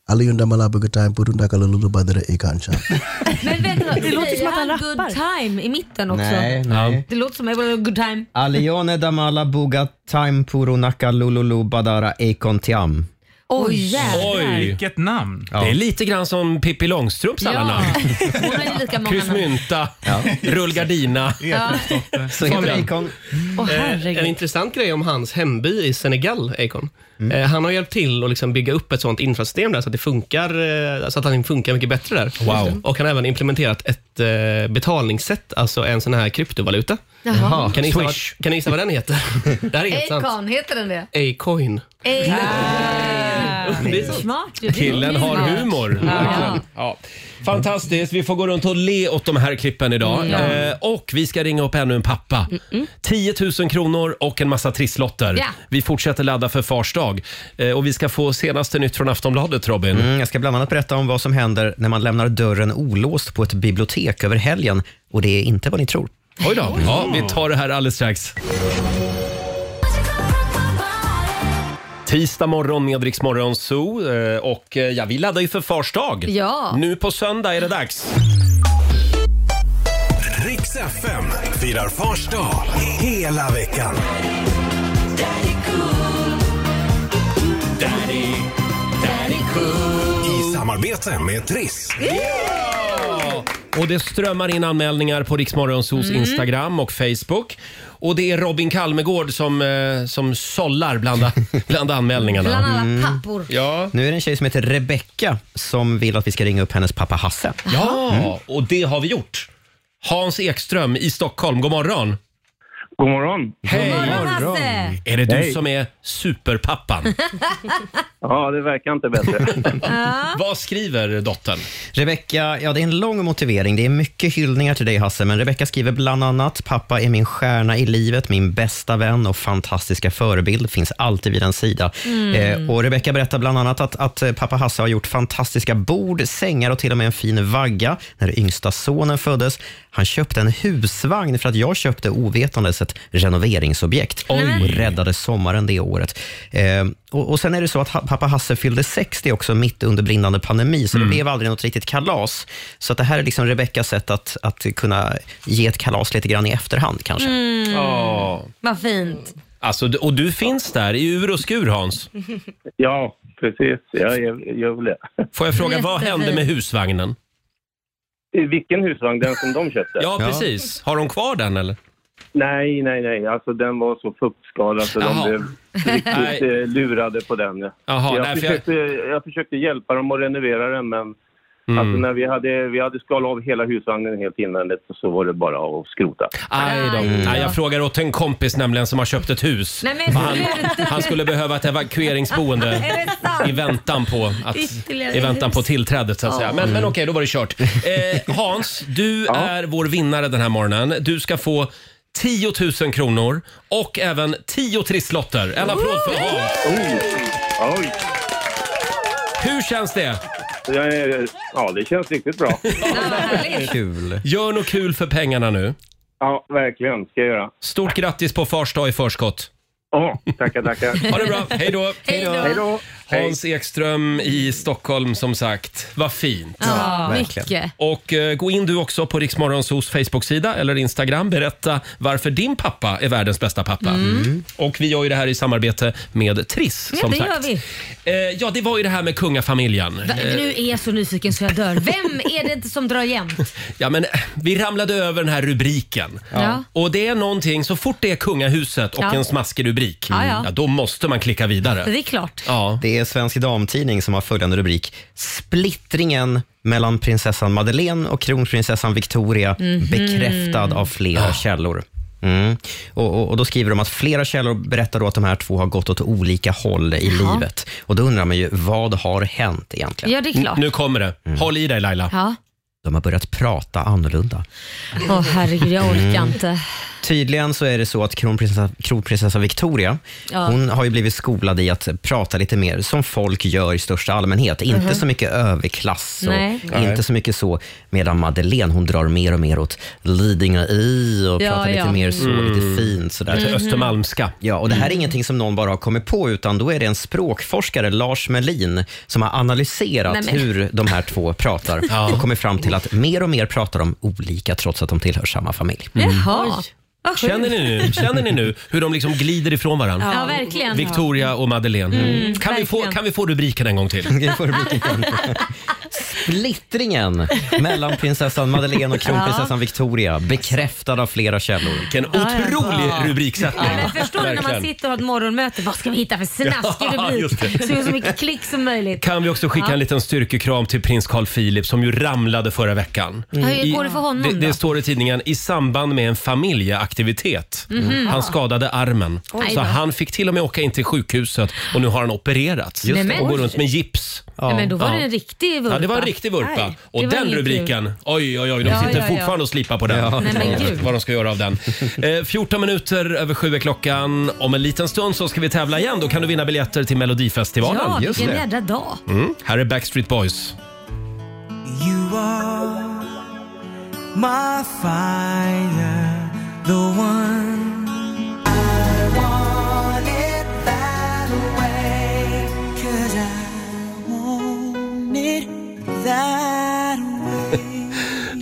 S11: Aliun damala begetai purunda kalululu badare ikansha.
S5: [laughs]
S2: Men vänta, [laughs] det
S7: låter som att han
S2: good
S7: rappar.
S2: time i mitten också.
S3: Nej, nej.
S2: Det låter som att jag good time.
S3: Alione damala buga time puru naka lululu badara Akon tiam.
S2: Oj, jävlar.
S1: Oj!
S4: Vilket namn.
S1: Det är lite grann som Pippi Långstrumps alla
S2: Ja.
S1: namn.
S2: Hon har ju lika många namn.
S1: Kryssmynta,
S8: [laughs]
S2: [laughs]
S1: rullgardina.
S3: Så heter
S1: Fabian.
S3: Akon.
S2: Åh
S8: Eh, En
S2: herregud.
S8: intressant grej om hans hemby i Senegal, Akon.
S1: Mm.
S8: Eh, Han har hjälpt till att liksom bygga upp ett sånt infrasystem där så att, det funkar, eh, så att han funkar mycket bättre där.
S1: Wow.
S8: Och han har även implementerat ett eh, betalningssätt, alltså en sån här kryptovaluta.
S2: Jaha.
S8: Kan ni gissa, vad,
S1: Swish.
S8: kan ni gissa vad den
S1: [laughs]
S8: heter? det här är helt sant.
S2: Akon, heter den det?
S8: A-coin.
S2: Akon.
S8: Det är sant.
S2: Smart ju. det är
S1: Killen har
S2: smart.
S1: humor. verkligen. Ja. Fantastiskt. Vi får gå runt och le åt de här klippen
S2: Mm,
S1: idag. Eh, och vi ska ringa upp ännu en pappa. 10 000 kronor och en massa trisslotter.
S2: Ja.
S1: Vi fortsätter ladda för fars dag. Eh, och vi ska få senaste nytt från Aftonbladet, Robin.
S3: Mm, jag ska bland annat berätta om vad som händer när man lämnar dörren olåst på ett bibliotek över helgen och det är inte vad ni tror.
S1: Oj då. Ja, vi tar det här alldeles strax. Tisdag morgon med Rix Morgon Zoo eh, och eh, ja, vi laddar ju för Fars dag.
S2: Ja.
S1: Nu på söndag är det dags.
S5: Riks FM firar Fars dag hela veckan. I samarbete med Triss.
S1: Och det strömmar in anmälningar på Riksmorgonsos
S10: Mm.
S1: Instagram och Facebook. Och det är Robin Kalmegård som, eh, som sållar bland,
S10: [laughs]
S1: bland anmälningarna.
S2: Bland alla pappor.
S1: Ja.
S3: Nu är det en tjej som heter Rebecka som vill att vi ska ringa upp hennes pappa Hasse. Mm.
S1: Ja,
S10: Mm.
S1: och det har vi gjort. Hans Ekström i Stockholm, god morgon. God morgon. Hej.
S10: God morgon, Hasse.
S1: Är det du
S10: Hej.
S1: som är superpappan?
S12: [laughs] Ja, det verkar inte
S3: [laughs]
S12: bättre.
S1: Vad skriver dottern?
S3: Rebecka, ja det är en lång motivering. Det är mycket hyllningar till dig Hasse, men Rebecka skriver bland annat “Pappa är min stjärna i livet, min bästa vän och fantastiska förebild, finns alltid vid ens sida”.
S10: Mm.
S3: Eh, och Rebecka berättar bland annat att, att eh, pappa Hasse har gjort fantastiska bord, sängar och till och med en fin vagga när yngsta sonen föddes. Han köpte en husvagn för att jag köpte ovetandes ett renoveringsobjekt och räddade sommaren det året. Eh, och, och Sen är det så att ha, pappa Hasse fyllde 60 också mitt under brinnande pandemi, så det blev aldrig något riktigt kalas. Så att det här är liksom Rebeckas sätt att, att kunna ge ett kalas lite grann i efterhand kanske.
S2: Mm.
S1: Ja.
S2: Vad fint.
S1: Alltså, d- och du finns där i ur och skur Hans.
S12: Ja, precis. Jag gör väl det.
S1: Får jag fråga, vad
S12: Jättefint.
S1: hände med husvagnen?
S12: I Vilken husvagn? Den som de köpte?
S1: Ja, precis. Har de kvar den eller?
S12: Nej, nej, nej. Alltså den var så fuktskadad så de
S1: Jaha.
S12: blev riktigt eh, lurade på den. ja.
S1: Jaha,
S12: jag,
S1: nej, för jag-
S12: försökte, jag... försökte hjälpa dem att renovera den, men
S1: Mm.
S12: alltså, när vi, hade, vi hade skalat av hela husvagnen helt invändigt och så var det bara att skrota.
S1: Aj då.
S12: Mm.
S1: Nej, jag frågar åt en kompis nämligen som har köpt ett hus.
S2: Nej, men
S1: han,
S2: sluta.
S1: han skulle behöva ett
S2: [laughs]
S1: evakueringsboende
S2: Är det sant?
S1: i väntan på, att,
S2: Ytterligare
S1: i väntan
S2: hus.
S1: på tillträdet så att
S2: Ja.
S1: säga. Men, men
S2: Mm.
S1: okej, då var det kört. Eh, Hans, du är vår vinnare den här morgonen. Du ska få 10 000 kronor och även 10 trisslotter. En applåd för Hans!
S12: Oj.
S1: Hur känns det?
S12: Ja, det känns riktigt bra.
S3: Kul.
S1: Gör något kul för pengarna nu.
S12: Ja, verkligen. Ska jag göra.
S1: Stort grattis på Fars dag i förskott.
S12: Ja, tackar,
S1: [laughs]
S12: tackar.
S1: Ha det bra. Hej då.
S12: Hej då. Hej då.
S1: Hans Ekström i Stockholm som sagt. Vad fint.
S2: Ja, Verkligen. mycket.
S1: Och eh, gå in du också på Riksmorgonsos Facebook-sida eller Instagram. Berätta varför din pappa är världens bästa pappa.
S2: Mm.
S1: Och vi gör ju det här i samarbete med Triss
S2: Ja,
S1: som
S2: det
S1: sagt.
S2: gör vi.
S1: Eh, ja, det var ju det här med kungafamiljen.
S2: Va- Nu
S1: Eh,
S2: är jag så nyfiken så jag dör. Vem är det inte som drar jämnt?
S1: ja, men eh, vi ramlade över den här rubriken.
S2: Ja.
S1: Och det är någonting, så fort det är kungahuset och
S2: Ja.
S1: en smaskig rubrik,
S2: Ja, ja.
S1: då måste man klicka vidare.
S2: Det är klart.
S3: Det är Svensk Damtidning som har följande rubrik. Splittringen mellan prinsessan Madeleine och kronprinsessan Victoria
S10: Mhm.
S3: bekräftad av flera
S1: Ah.
S3: källor. Mm. Och, och, och Då skriver de att flera källor berättar då att de här två har gått åt olika håll i
S2: Ja.
S3: livet. Och Då undrar man ju, vad har hänt egentligen? Mm.
S2: Ja, det är klart.
S1: Nu kommer det. Håll i dig Laila.
S2: Ja.
S3: De har börjat prata annorlunda.
S2: Åh herregud, jag orkar
S3: Mm.
S2: inte.
S3: Tydligen så är det så att kronprinsessa, kronprinsessa Victoria,
S2: Ja.
S3: hon har ju blivit skolad i att prata lite mer som folk gör i största allmänhet.
S10: Mhm.
S3: Inte så mycket överklass och
S10: Nej.
S3: inte så mycket så. Medan Madeleine, hon drar mer och mer åt Lidingö i och
S10: Ja,
S3: pratar lite
S10: ja.
S3: mer så,
S10: Mm.
S3: lite fint. Sådär.
S10: Lite Mhm. Mm.
S1: östermalmska.
S3: Ja, och det här är ingenting som någon bara har kommit på, utan då är det en språkforskare, Lars Melin, som har analyserat
S10: Nej, men-
S3: hur de här två pratar och kommit fram till att mer och mer pratar de olika trots att de tillhör samma familj.
S2: Jaha. Vad sjukt.
S1: Känner ni, nu, känner ni nu hur de liksom glider ifrån varandra?
S2: Ja, verkligen.
S1: Victoria och Madeleine.
S2: Mm,
S1: kan, vi få, kan vi få rubriken en gång till?
S3: Splittringen mellan prinsessan Madeleine och kronprinsessan Victoria bekräftad av flera källor.
S1: Vilken otrolig
S2: Ja.
S1: rubriksättning.
S2: Ja, men förstår du när man sitter och har ett morgonmöte, vad ska vi hitta för snaskig
S1: Ja,
S2: rubrik?
S1: just det.
S2: Så det är så mycket klick som möjligt.
S1: Kan vi också skicka
S2: Ja.
S1: en liten styrkekram till prins Carl Philip som ju ramlade förra veckan.
S2: Ja, hur
S1: I-
S2: går det för honom
S1: det, det
S2: då?
S1: står i tidningen i samband med en familjeaktivitet.
S2: Mhm.
S1: Han skadade armen.
S2: Oj
S1: Så
S2: då.
S1: han fick till och med åka in till sjukhuset och nu har han opererats
S2: Just det.
S1: och går runt med gips.
S2: Nej, men då var
S1: Ja.
S2: det en riktig vurpa.
S1: Ja, det var en riktig vurpa.
S2: Nej,
S1: och
S2: det var
S1: den
S2: inget
S1: rubriken,
S2: kul.
S1: oj, oj, oj, de
S2: Ja,
S1: sitter
S2: ja, ja.
S1: fortfarande och slipar på den.
S2: Nej, men gud.
S1: Vad de ska göra av den. Eh, 14 minuter över sju är klockan. Om en liten stund så ska vi tävla igen. Då kan du vinna biljetter till Melodifestivalen.
S2: Ja, vilken jädra dag.
S1: Mm. Här är Backstreet Boys.
S5: You are my fire, the one. I want it that way, 'cause I want it that way.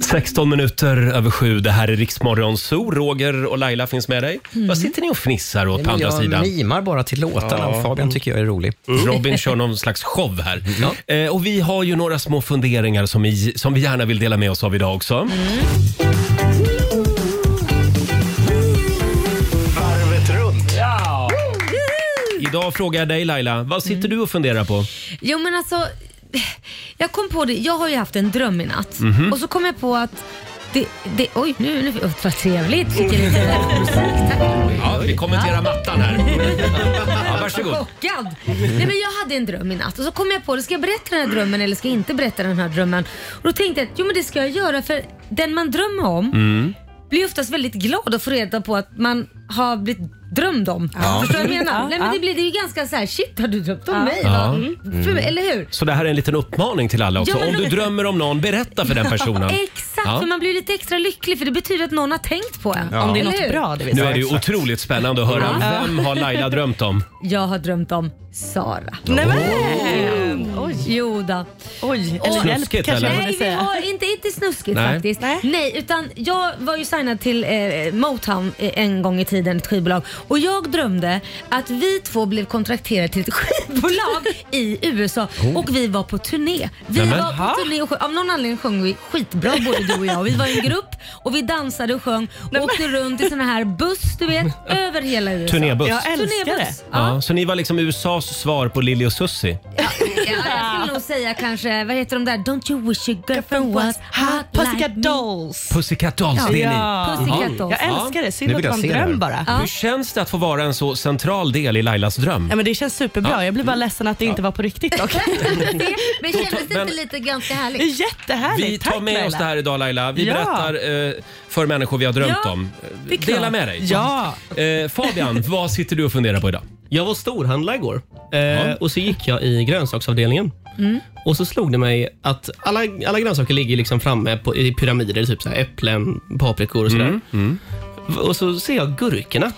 S1: 16 minuter över sju. Det här är Riksmorgon Zoo. Roger och Laila finns med dig.
S3: Mm.
S1: Vad sitter ni och fnissar åt
S3: Nej,
S1: på
S3: men
S1: andra
S3: jag
S1: sidan?
S3: mimar bara till låtarna och Fabian tycker jag är rolig. Mm.
S1: Mm. Robin kör någon slags show här. Eh, och vi har ju några små funderingar som vi, som vi gärna vill dela med oss av idag också.
S3: Mm.
S10: Varvet runt.
S1: Ja. Idag frågar jag dig Laila, vad sitter
S3: Mm.
S1: du och funderar på?
S2: Jo men alltså, jag kom på det. Jag har ju haft en dröm i natt
S1: Mhm.
S2: och så kom jag på att det, det, oj, nu, nu oh, vad trevligt. Fick jag lite
S1: [laughs]
S2: musik. Tack.
S1: Ja, vi kommenterar
S3: [laughs]
S1: mattan här. Ja, varsågod.
S2: Chockad. Nej, men jag hade en dröm i natt och så kom jag på det. Ska jag berätta den här drömmen eller ska jag inte berätta den här drömmen? Och då tänkte jag att jo, men det ska jag göra för den man drömmer om
S10: Mm.
S2: blir oftast väldigt glad att få reda på att man har blivit drömd om.
S1: Ja.
S2: Förstår du vad jag menar?
S1: Ja,
S2: Nej, men
S1: ja.
S2: det, blir, det är ju ganska så här, shit har du drömt om
S10: Ja.
S2: mig?
S1: Ja. Mm.
S2: Va? För mig, eller hur?
S1: Så det här är en liten uppmaning till alla också.
S2: Ja, men
S1: Om du
S2: då-
S1: drömmer om någon, berätta för den personen.
S2: Exakt,
S1: Ja.
S2: för man blir lite extra lycklig för det betyder att någon har tänkt på en.
S1: Ja. Om det är
S2: Eller
S1: något
S2: hur?
S1: Nu är det ju otroligt spännande att höra.
S2: Ja.
S1: Vem har Laila drömt om?
S2: Jag har drömt om Sara.
S1: Nej, men!
S2: Ja. Oj. Jo då. Oj,
S1: eller Snuskigt, hjälp kanske eller? man
S2: Nej,
S1: borde
S2: vi
S1: säga.
S2: har inte, inte snuskigt
S1: Nej.
S2: faktiskt. Nej. utan jag var ju signad till eh, Motown eh, en gång i tiden, ett skivbolag. Och jag drömde att vi två blev kontrakterade till ett [laughs] skivbolag i USA
S10: Oh.
S2: och vi var på turné. Vi
S10: Nämen.
S2: var på turné och sjö- av någon anledning sjöng vi skitbra både du och jag. Vi var i en grupp och vi dansade och sjöng och åkte runt i såna här buss, du vet, över hela USA.
S1: Turnébuss.
S2: Turnébuss.
S1: Ja, så ni var liksom USAs svar på Lili och Susie?
S2: Ja, jag skulle nog säga kanske, vad heter de där? Don't you wish your girlfriend was hot
S7: Pussycat
S2: like me? Dolls.
S1: Pussycat Dolls, det är ni.
S7: Ja.
S2: Pussycat
S1: Ja.
S2: Dolls.
S7: Jag älskar det. Synd
S1: Nu
S7: att
S1: vill jag
S7: man
S1: se det här.
S7: dröm bara.
S1: Hur känns det att få vara en så central del i Lailas dröm?
S7: Ja, men det känns superbra.
S1: Ja.
S7: Jag blir bara ledsen att det inte var på riktigt
S1: [laughs]
S7: dock.
S2: Men kändes [laughs] det inte lite ganska härligt?
S7: Jättehärligt.
S1: Vi tar
S7: Tack,
S1: med oss
S7: Laila.
S1: det här idag Laila. Vi
S7: Ja.
S1: berättar eh, för människor vi har drömt
S7: Ja,
S1: om.
S7: det är klart.
S1: Dela med dig.
S7: Ja. [laughs]
S1: Eh, Fabian, vad sitter du och funderar på idag?
S8: Jag var storhandlare igår eh, och så gick jag i grönsaksavdelningen.
S1: Mm.
S8: Och så slog det mig att alla, alla grönsaker ligger liksom framme på, i pyramider, typ så här äpplen, paprikor och sådär.
S1: Mm.
S8: Och så ser jag gurkorna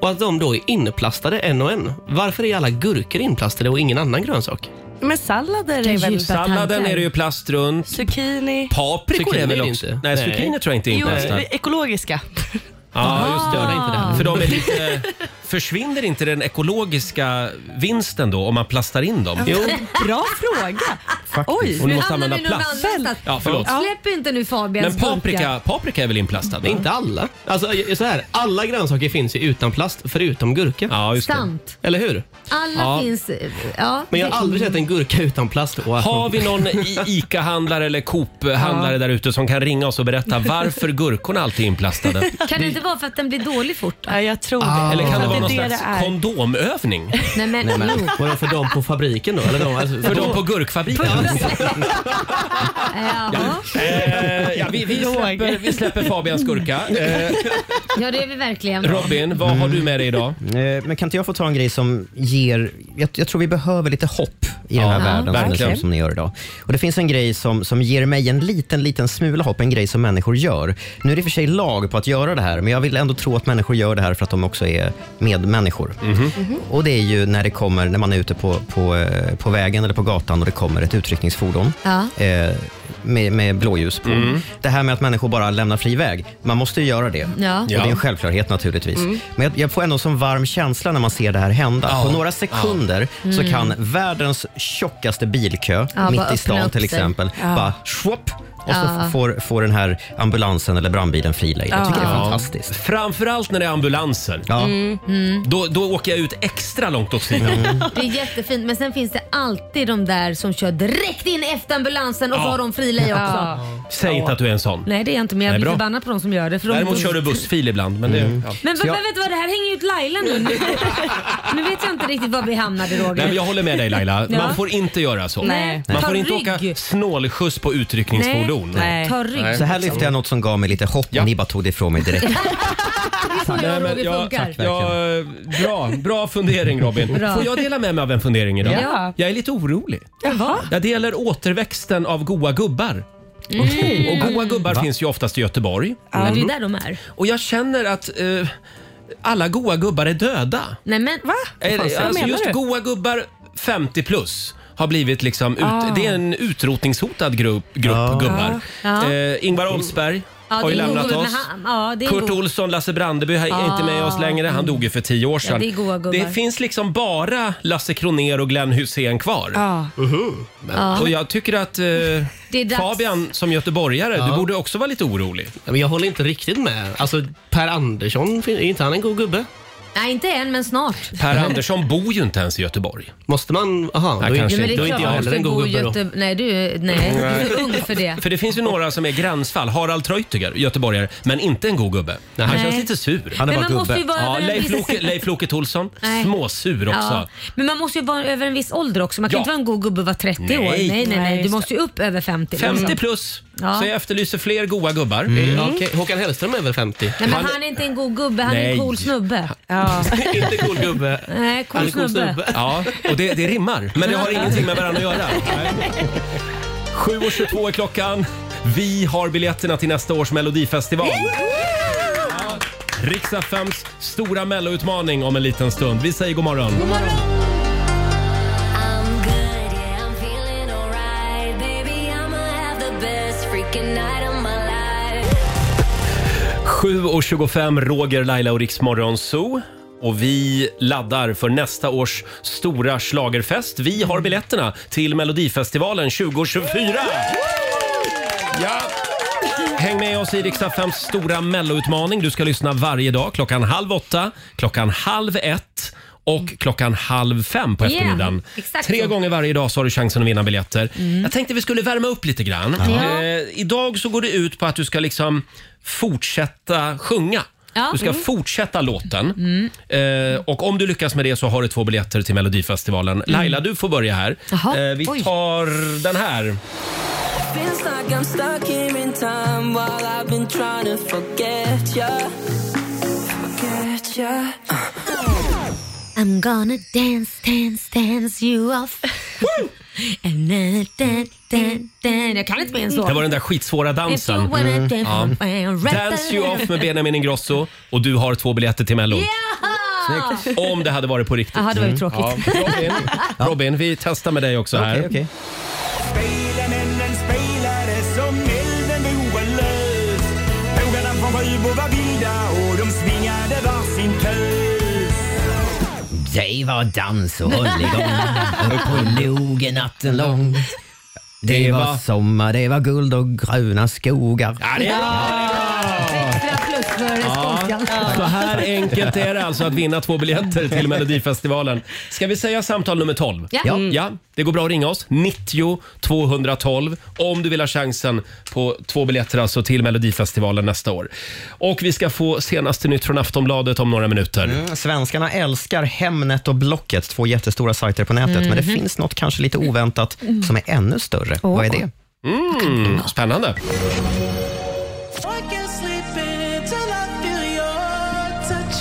S8: och att de då är inplastade en och en. Varför är alla gurkor inplastade och ingen annan grönsak?
S7: Men sallader är väl...
S1: Salladen är det ju plast runt.
S7: Zucchini.
S1: Paprikor är
S8: Zucchini
S1: väl
S8: är det
S1: också...
S8: inte.
S1: Nej,
S8: Nej.
S1: zucchini tror jag inte är
S7: Jo,
S1: inplastad.
S7: ekologiska.
S1: Ja, just det.
S7: Gör det inte det.
S1: För [laughs] de är lite, försvinner inte den ekologiska vinsten då om man plastar in dem?
S7: Jo.
S2: [laughs]
S7: Bra fråga.
S1: Faktiskt.
S7: Oj,
S1: Hon
S7: nu
S1: måste
S7: hamnar
S1: använda
S7: vi någon
S1: plast.
S7: annanstans.
S1: Ja, förlåt.
S2: Släpp inte nu Fabians
S8: Men paprika-
S2: burkar.
S1: Paprika är väl inplastad? va?
S8: Inte alla. Alltså, jag- så här, alla grönsaker finns ju utan plast förutom gurka.
S1: Ja,
S2: just det. Sant.
S8: Eller hur?
S2: Alla
S8: Ja.
S2: finns... eh, Ja,
S8: Men jag har aldrig sett en gurka utan plast. Och att
S1: Har
S8: man-
S1: vi någon i- ICA-handlare eller Coop-handlare där ute som kan ringa oss och berätta varför gurkorna alltid är inplastade?
S2: [laughs] Kan det inte vara för att den blir dålig fort?
S7: Ja, jag tror
S1: Ah. Eller kan det vara någon
S2: det
S1: slags
S2: det är.
S1: kondomövning?
S2: Nej men,
S8: Nej, men,
S2: jo.
S8: var det för dem på fabriken då? Eller de, alltså,
S1: För dem på gurkfabriken?
S2: Jaha.
S1: Eh, ja, vi, vi, släpper, vi släpper Fabians
S2: [laughs]
S1: gurka. Eh,
S2: Ja, det är vi verkligen.
S1: Robin, vad har du med
S3: [laughs]
S1: dig idag?
S3: Eh, Men kan inte jag få ta en grej som ger... Jag, jag tror vi behöver lite hopp i den
S1: Ja,
S3: här världen som,
S1: verkligen.
S3: liksom, som ni gör idag. Och Det finns en grej som, som ger mig en liten, liten smula hopp, en grej som människor gör. Nu är det i och för sig lag på att göra det här, men jag vill ändå tro att människor gör det här för att de också är medmänniskor.
S1: Mhm.
S3: Och det är ju när det kommer, när man är ute på, på, eh, på vägen eller på gatan och det kommer ett utryckningsfordon
S2: Ja.
S3: eh, med, med blåljus på. Det här med att människor bara lämnar fri väg, man måste ju göra det.
S2: Ja.
S3: Och det är en självklarhet naturligtvis.
S2: Mm.
S3: Men jag, jag får ändå en sån varm känsla när man ser det här hända.
S10: Ja.
S3: På några sekunder
S10: Ja.
S3: så
S10: Mm.
S3: kan världens tjockaste bilkö,
S10: Ja, bara
S3: mitt
S10: öppna
S3: i
S10: upp
S3: stan till
S10: sig.
S3: exempel,
S10: Ja.
S3: bara schwopp och så
S10: Ja.
S3: får, får den här ambulansen eller brandbilen fri lejd. Jag tycker det är
S1: Ja.
S3: fantastiskt.
S1: Framförallt när det är ambulanser.
S2: Mm, mm.
S1: Då, då åker jag ut extra långt åt sidan.
S2: [laughs] Det är jättefint men sen finns det alltid de där som kör direkt in efter ambulansen och så
S1: Ja.
S2: har de frileje också.
S1: Säg inte att du är en sån.
S2: Nej det är jag inte men jag
S1: Nej,
S2: blir
S1: bra.
S2: förbannad på de som gör det. För de Mm.
S1: Däremot kör du bussfil ibland. Men det, ja.
S2: Men
S1: Så
S2: vad,
S1: jag-
S2: men vet du vad, det här hänger ju ut Laila
S1: [laughs]
S2: nu. Nu, nu vet jag inte riktigt var vi hamnade Roger.
S1: Nej, men jag håller med dig Laila.
S2: [laughs] Ja.
S1: Man får inte göra så.
S2: Nej.
S1: Man
S2: Ta
S1: får inte
S2: rygg.
S1: åka snålskjuts på utryckningsfordon.
S2: Nej, nej. Ta rygg.
S3: Så här lyfte jag något som gav mig lite hopp och ni bara tog det ifrån mig direkt.
S2: Tack.
S1: Nej, men
S2: Roger
S1: jag,
S2: funkar.
S1: jag, bra, bra fundering Robin.
S2: Bra.
S1: Får jag dela med mig av en fundering idag?
S2: Ja.
S1: Jag är lite orolig.
S2: Jaha.
S1: Ja, det gäller återväxten av goa gubbar.
S2: Okej.
S1: Och goa
S2: Mm.
S1: gubbar finns ju oftast i Göteborg.
S2: Ja, det är
S1: Mm.
S2: ju där de är.
S1: Och jag känner att eh, alla goa gubbar är döda. Eh, alltså,
S2: Nej men va?
S1: Är, alltså, just goa gubbar 50 plus. har blivit liksom ut,
S2: Ah.
S1: det är en utrotningshotad grupp, grupp gubbar.
S2: Ja.
S1: Eh, Ingvar Oldsberg
S2: Ja,
S1: har ju
S2: det är
S1: lämnat
S2: goa-
S1: oss.
S2: men han- ja, det är
S1: Kurt
S2: goa-
S1: Olsson, Lasse Brandeby har- är inte med oss längre. Han dog ju för tio år sedan.
S2: Ja, det är goa gubbar.
S1: Det finns liksom bara Lasse Kroner och Glenn Hussein kvar.
S2: Ja.
S1: Uhu. Men,
S2: Ja.
S1: Och jag tycker att
S2: [laughs]
S1: eh,
S2: Det är dags.
S1: Fabian som göteborgare, du borde också vara lite orolig.
S8: Men jag håller inte riktigt med. Alltså, per Andersson, fin- är inte han en god gubbe?
S2: Nej, inte än, men snart.
S1: Per
S2: [laughs]
S1: Andersson bor ju inte ens i Göteborg.
S8: Måste man? Aha,
S1: Nej,
S8: då, är-
S1: kanske
S8: då
S1: inte.
S8: är inte jag heller en god gubbe då.
S2: Göte... Nej, du, är- nej, du är
S1: [laughs]
S2: för ung för det.
S1: För det finns ju några som är gränsfall. Harald Treutiger, göteborgare, men inte en god gubbe. Han
S2: Nej.
S1: känns lite sur.
S2: Han är Men bara man gubbe. måste ju vara
S1: ja,
S2: över en
S1: Leif,
S2: viss-
S1: Loke, Leif Loket Olsson,
S2: Nej.
S1: småsur också.
S2: Ja. Men man måste ju vara över en viss ålder också. Man kan
S1: Ja.
S2: inte vara en god gubbe och vara 30 år.
S1: Nej.
S2: Nej, nej, nej.
S1: Nej,
S2: Du
S1: just
S2: måste ju upp över 50.
S1: 50
S2: liksom.
S1: plus,
S2: Ja.
S1: så jag efterlyser fler goa gubbar.
S8: Eh,
S2: Mm. Ja, okej.
S1: Håkan Hellström är över 50?
S2: Nej, men han är inte en god gubbe, han är
S1: Nej.
S2: en cool snubbe. Ja.
S1: [laughs] inte cool gubbe.
S2: Nej, cool Han är cool snubbe. snubbe.
S1: Ja, och det, det rimmar, men det har ingenting med varandra att göra. 7.22 är klockan. Vi har biljetterna till nästa års Melodifestival. Rix FMs stora melloutmaning om en liten stund. Vi säger god morgon.
S13: Hej
S1: 7.25, Roger, Laila och Rix Morgon Zoo. Och vi laddar för nästa års stora schlagerfest. Vi har biljetterna till Melodifestivalen 2024. Ja. Häng med oss i Rix FMs stora melloutmaning. Du ska lyssna varje dag klockan halv åtta, klockan halv ett och klockan halv fem på
S2: Yeah,
S1: eftermiddagen.
S2: exakt
S1: Tre
S2: så.
S1: gånger varje dag så har du chansen att vinna biljetter. Jag tänkte vi skulle värma upp lite grann.
S2: Mm. Ja.
S1: Eh, idag så går det ut på att du ska liksom fortsätta sjunga.
S2: Ja.
S1: Du ska
S2: Mm.
S1: fortsätta låten. Eh, och om du lyckas med det så har du två biljetter till
S2: Mm.
S1: Melodifestivalen. Laila, du får börja här.
S5: Jaha,
S1: Eh, vi
S5: oj.
S1: tar den här.
S5: Feels like I'm stuck here in time while I've been trying to forget ya. Forget ya.
S13: I'm gonna dance, dance, dance you off. And then, then, then, then. Jag kan inte mer än så.
S1: Det var den där skitsvåra dansen. Mm. Ja. Dance you off med Benjamin Ingrosso och du har två biljetter till Mello.
S2: Ja!
S1: Snyggt. Om det hade varit på riktigt.
S2: Jaha, det var ju
S1: Mm.
S2: tråkigt.
S1: Ja. Robin,
S5: [laughs]
S2: [laughs]
S1: Robin, vi testar med dig också här.
S3: Okej, okej.
S5: Spelmännen spelade som elden blålös. Bågarna från Sjöbo var vilda och de svingade varsin tös.
S3: Det var dans och hålligång och på logen natten lång. Det var sommar, det var guld och gröna skogar.
S2: Extra plus för
S1: Ja.
S2: skånskan.
S1: Så här enkelt är det alltså att vinna två biljetter till Melodifestivalen. Ska vi säga samtal nummer 12?
S2: Ja. Ja.
S1: ja. Det går bra att ringa oss. 90 212 om du vill ha chansen på två biljetter alltså till Melodifestivalen nästa år. Och vi ska få senaste nytt från Aftonbladet om några minuter.
S3: Mm, svenskarna älskar Hemnet och Blocket, två jättestora sajter på nätet. Men det
S1: Mhm.
S3: finns något kanske lite oväntat som är ännu större. Vad är det?
S1: Mm, spännande.
S5: I can't sleep until I feel your touch.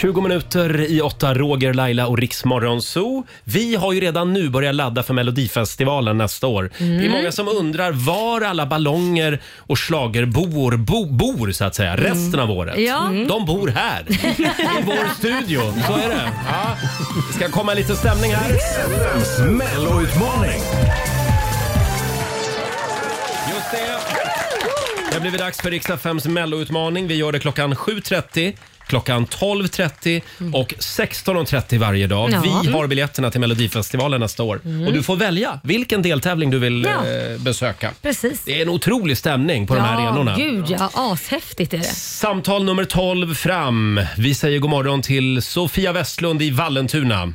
S1: 20 minuter i åtta, Roger, Laila och Riksmorgon Zoo. Vi har ju redan nu börjat ladda för Melodifestivalen nästa år.
S8: Mm.
S1: Det är många som undrar var alla ballonger och schlagerboor bo, bor så att säga resten av året.
S5: Ja. Mm.
S1: De bor här, i vår studio. Så är det. Ja. Det ska komma lite stämning här.
S10: Melloutmaning.
S1: Just det. Det har blivit dags för Riksdag 5s Mello-utmaning. Vi gör det klockan 7.30, klockan 12.30 och 16.30 varje dag.
S2: Mm. Ja.
S1: Vi har
S2: Mm.
S1: biljetterna till Melodifestivalen nästa år.
S2: Mm.
S1: Och du får välja vilken deltävling du vill
S2: Ja.
S1: eh, besöka.
S2: Precis.
S1: Det är en otrolig stämning på de här arenorna.
S2: gud ja. Ashäftigt är det.
S1: Samtal nummer 12 fram. Vi säger god morgon till Sofia Westlund i Vallentuna.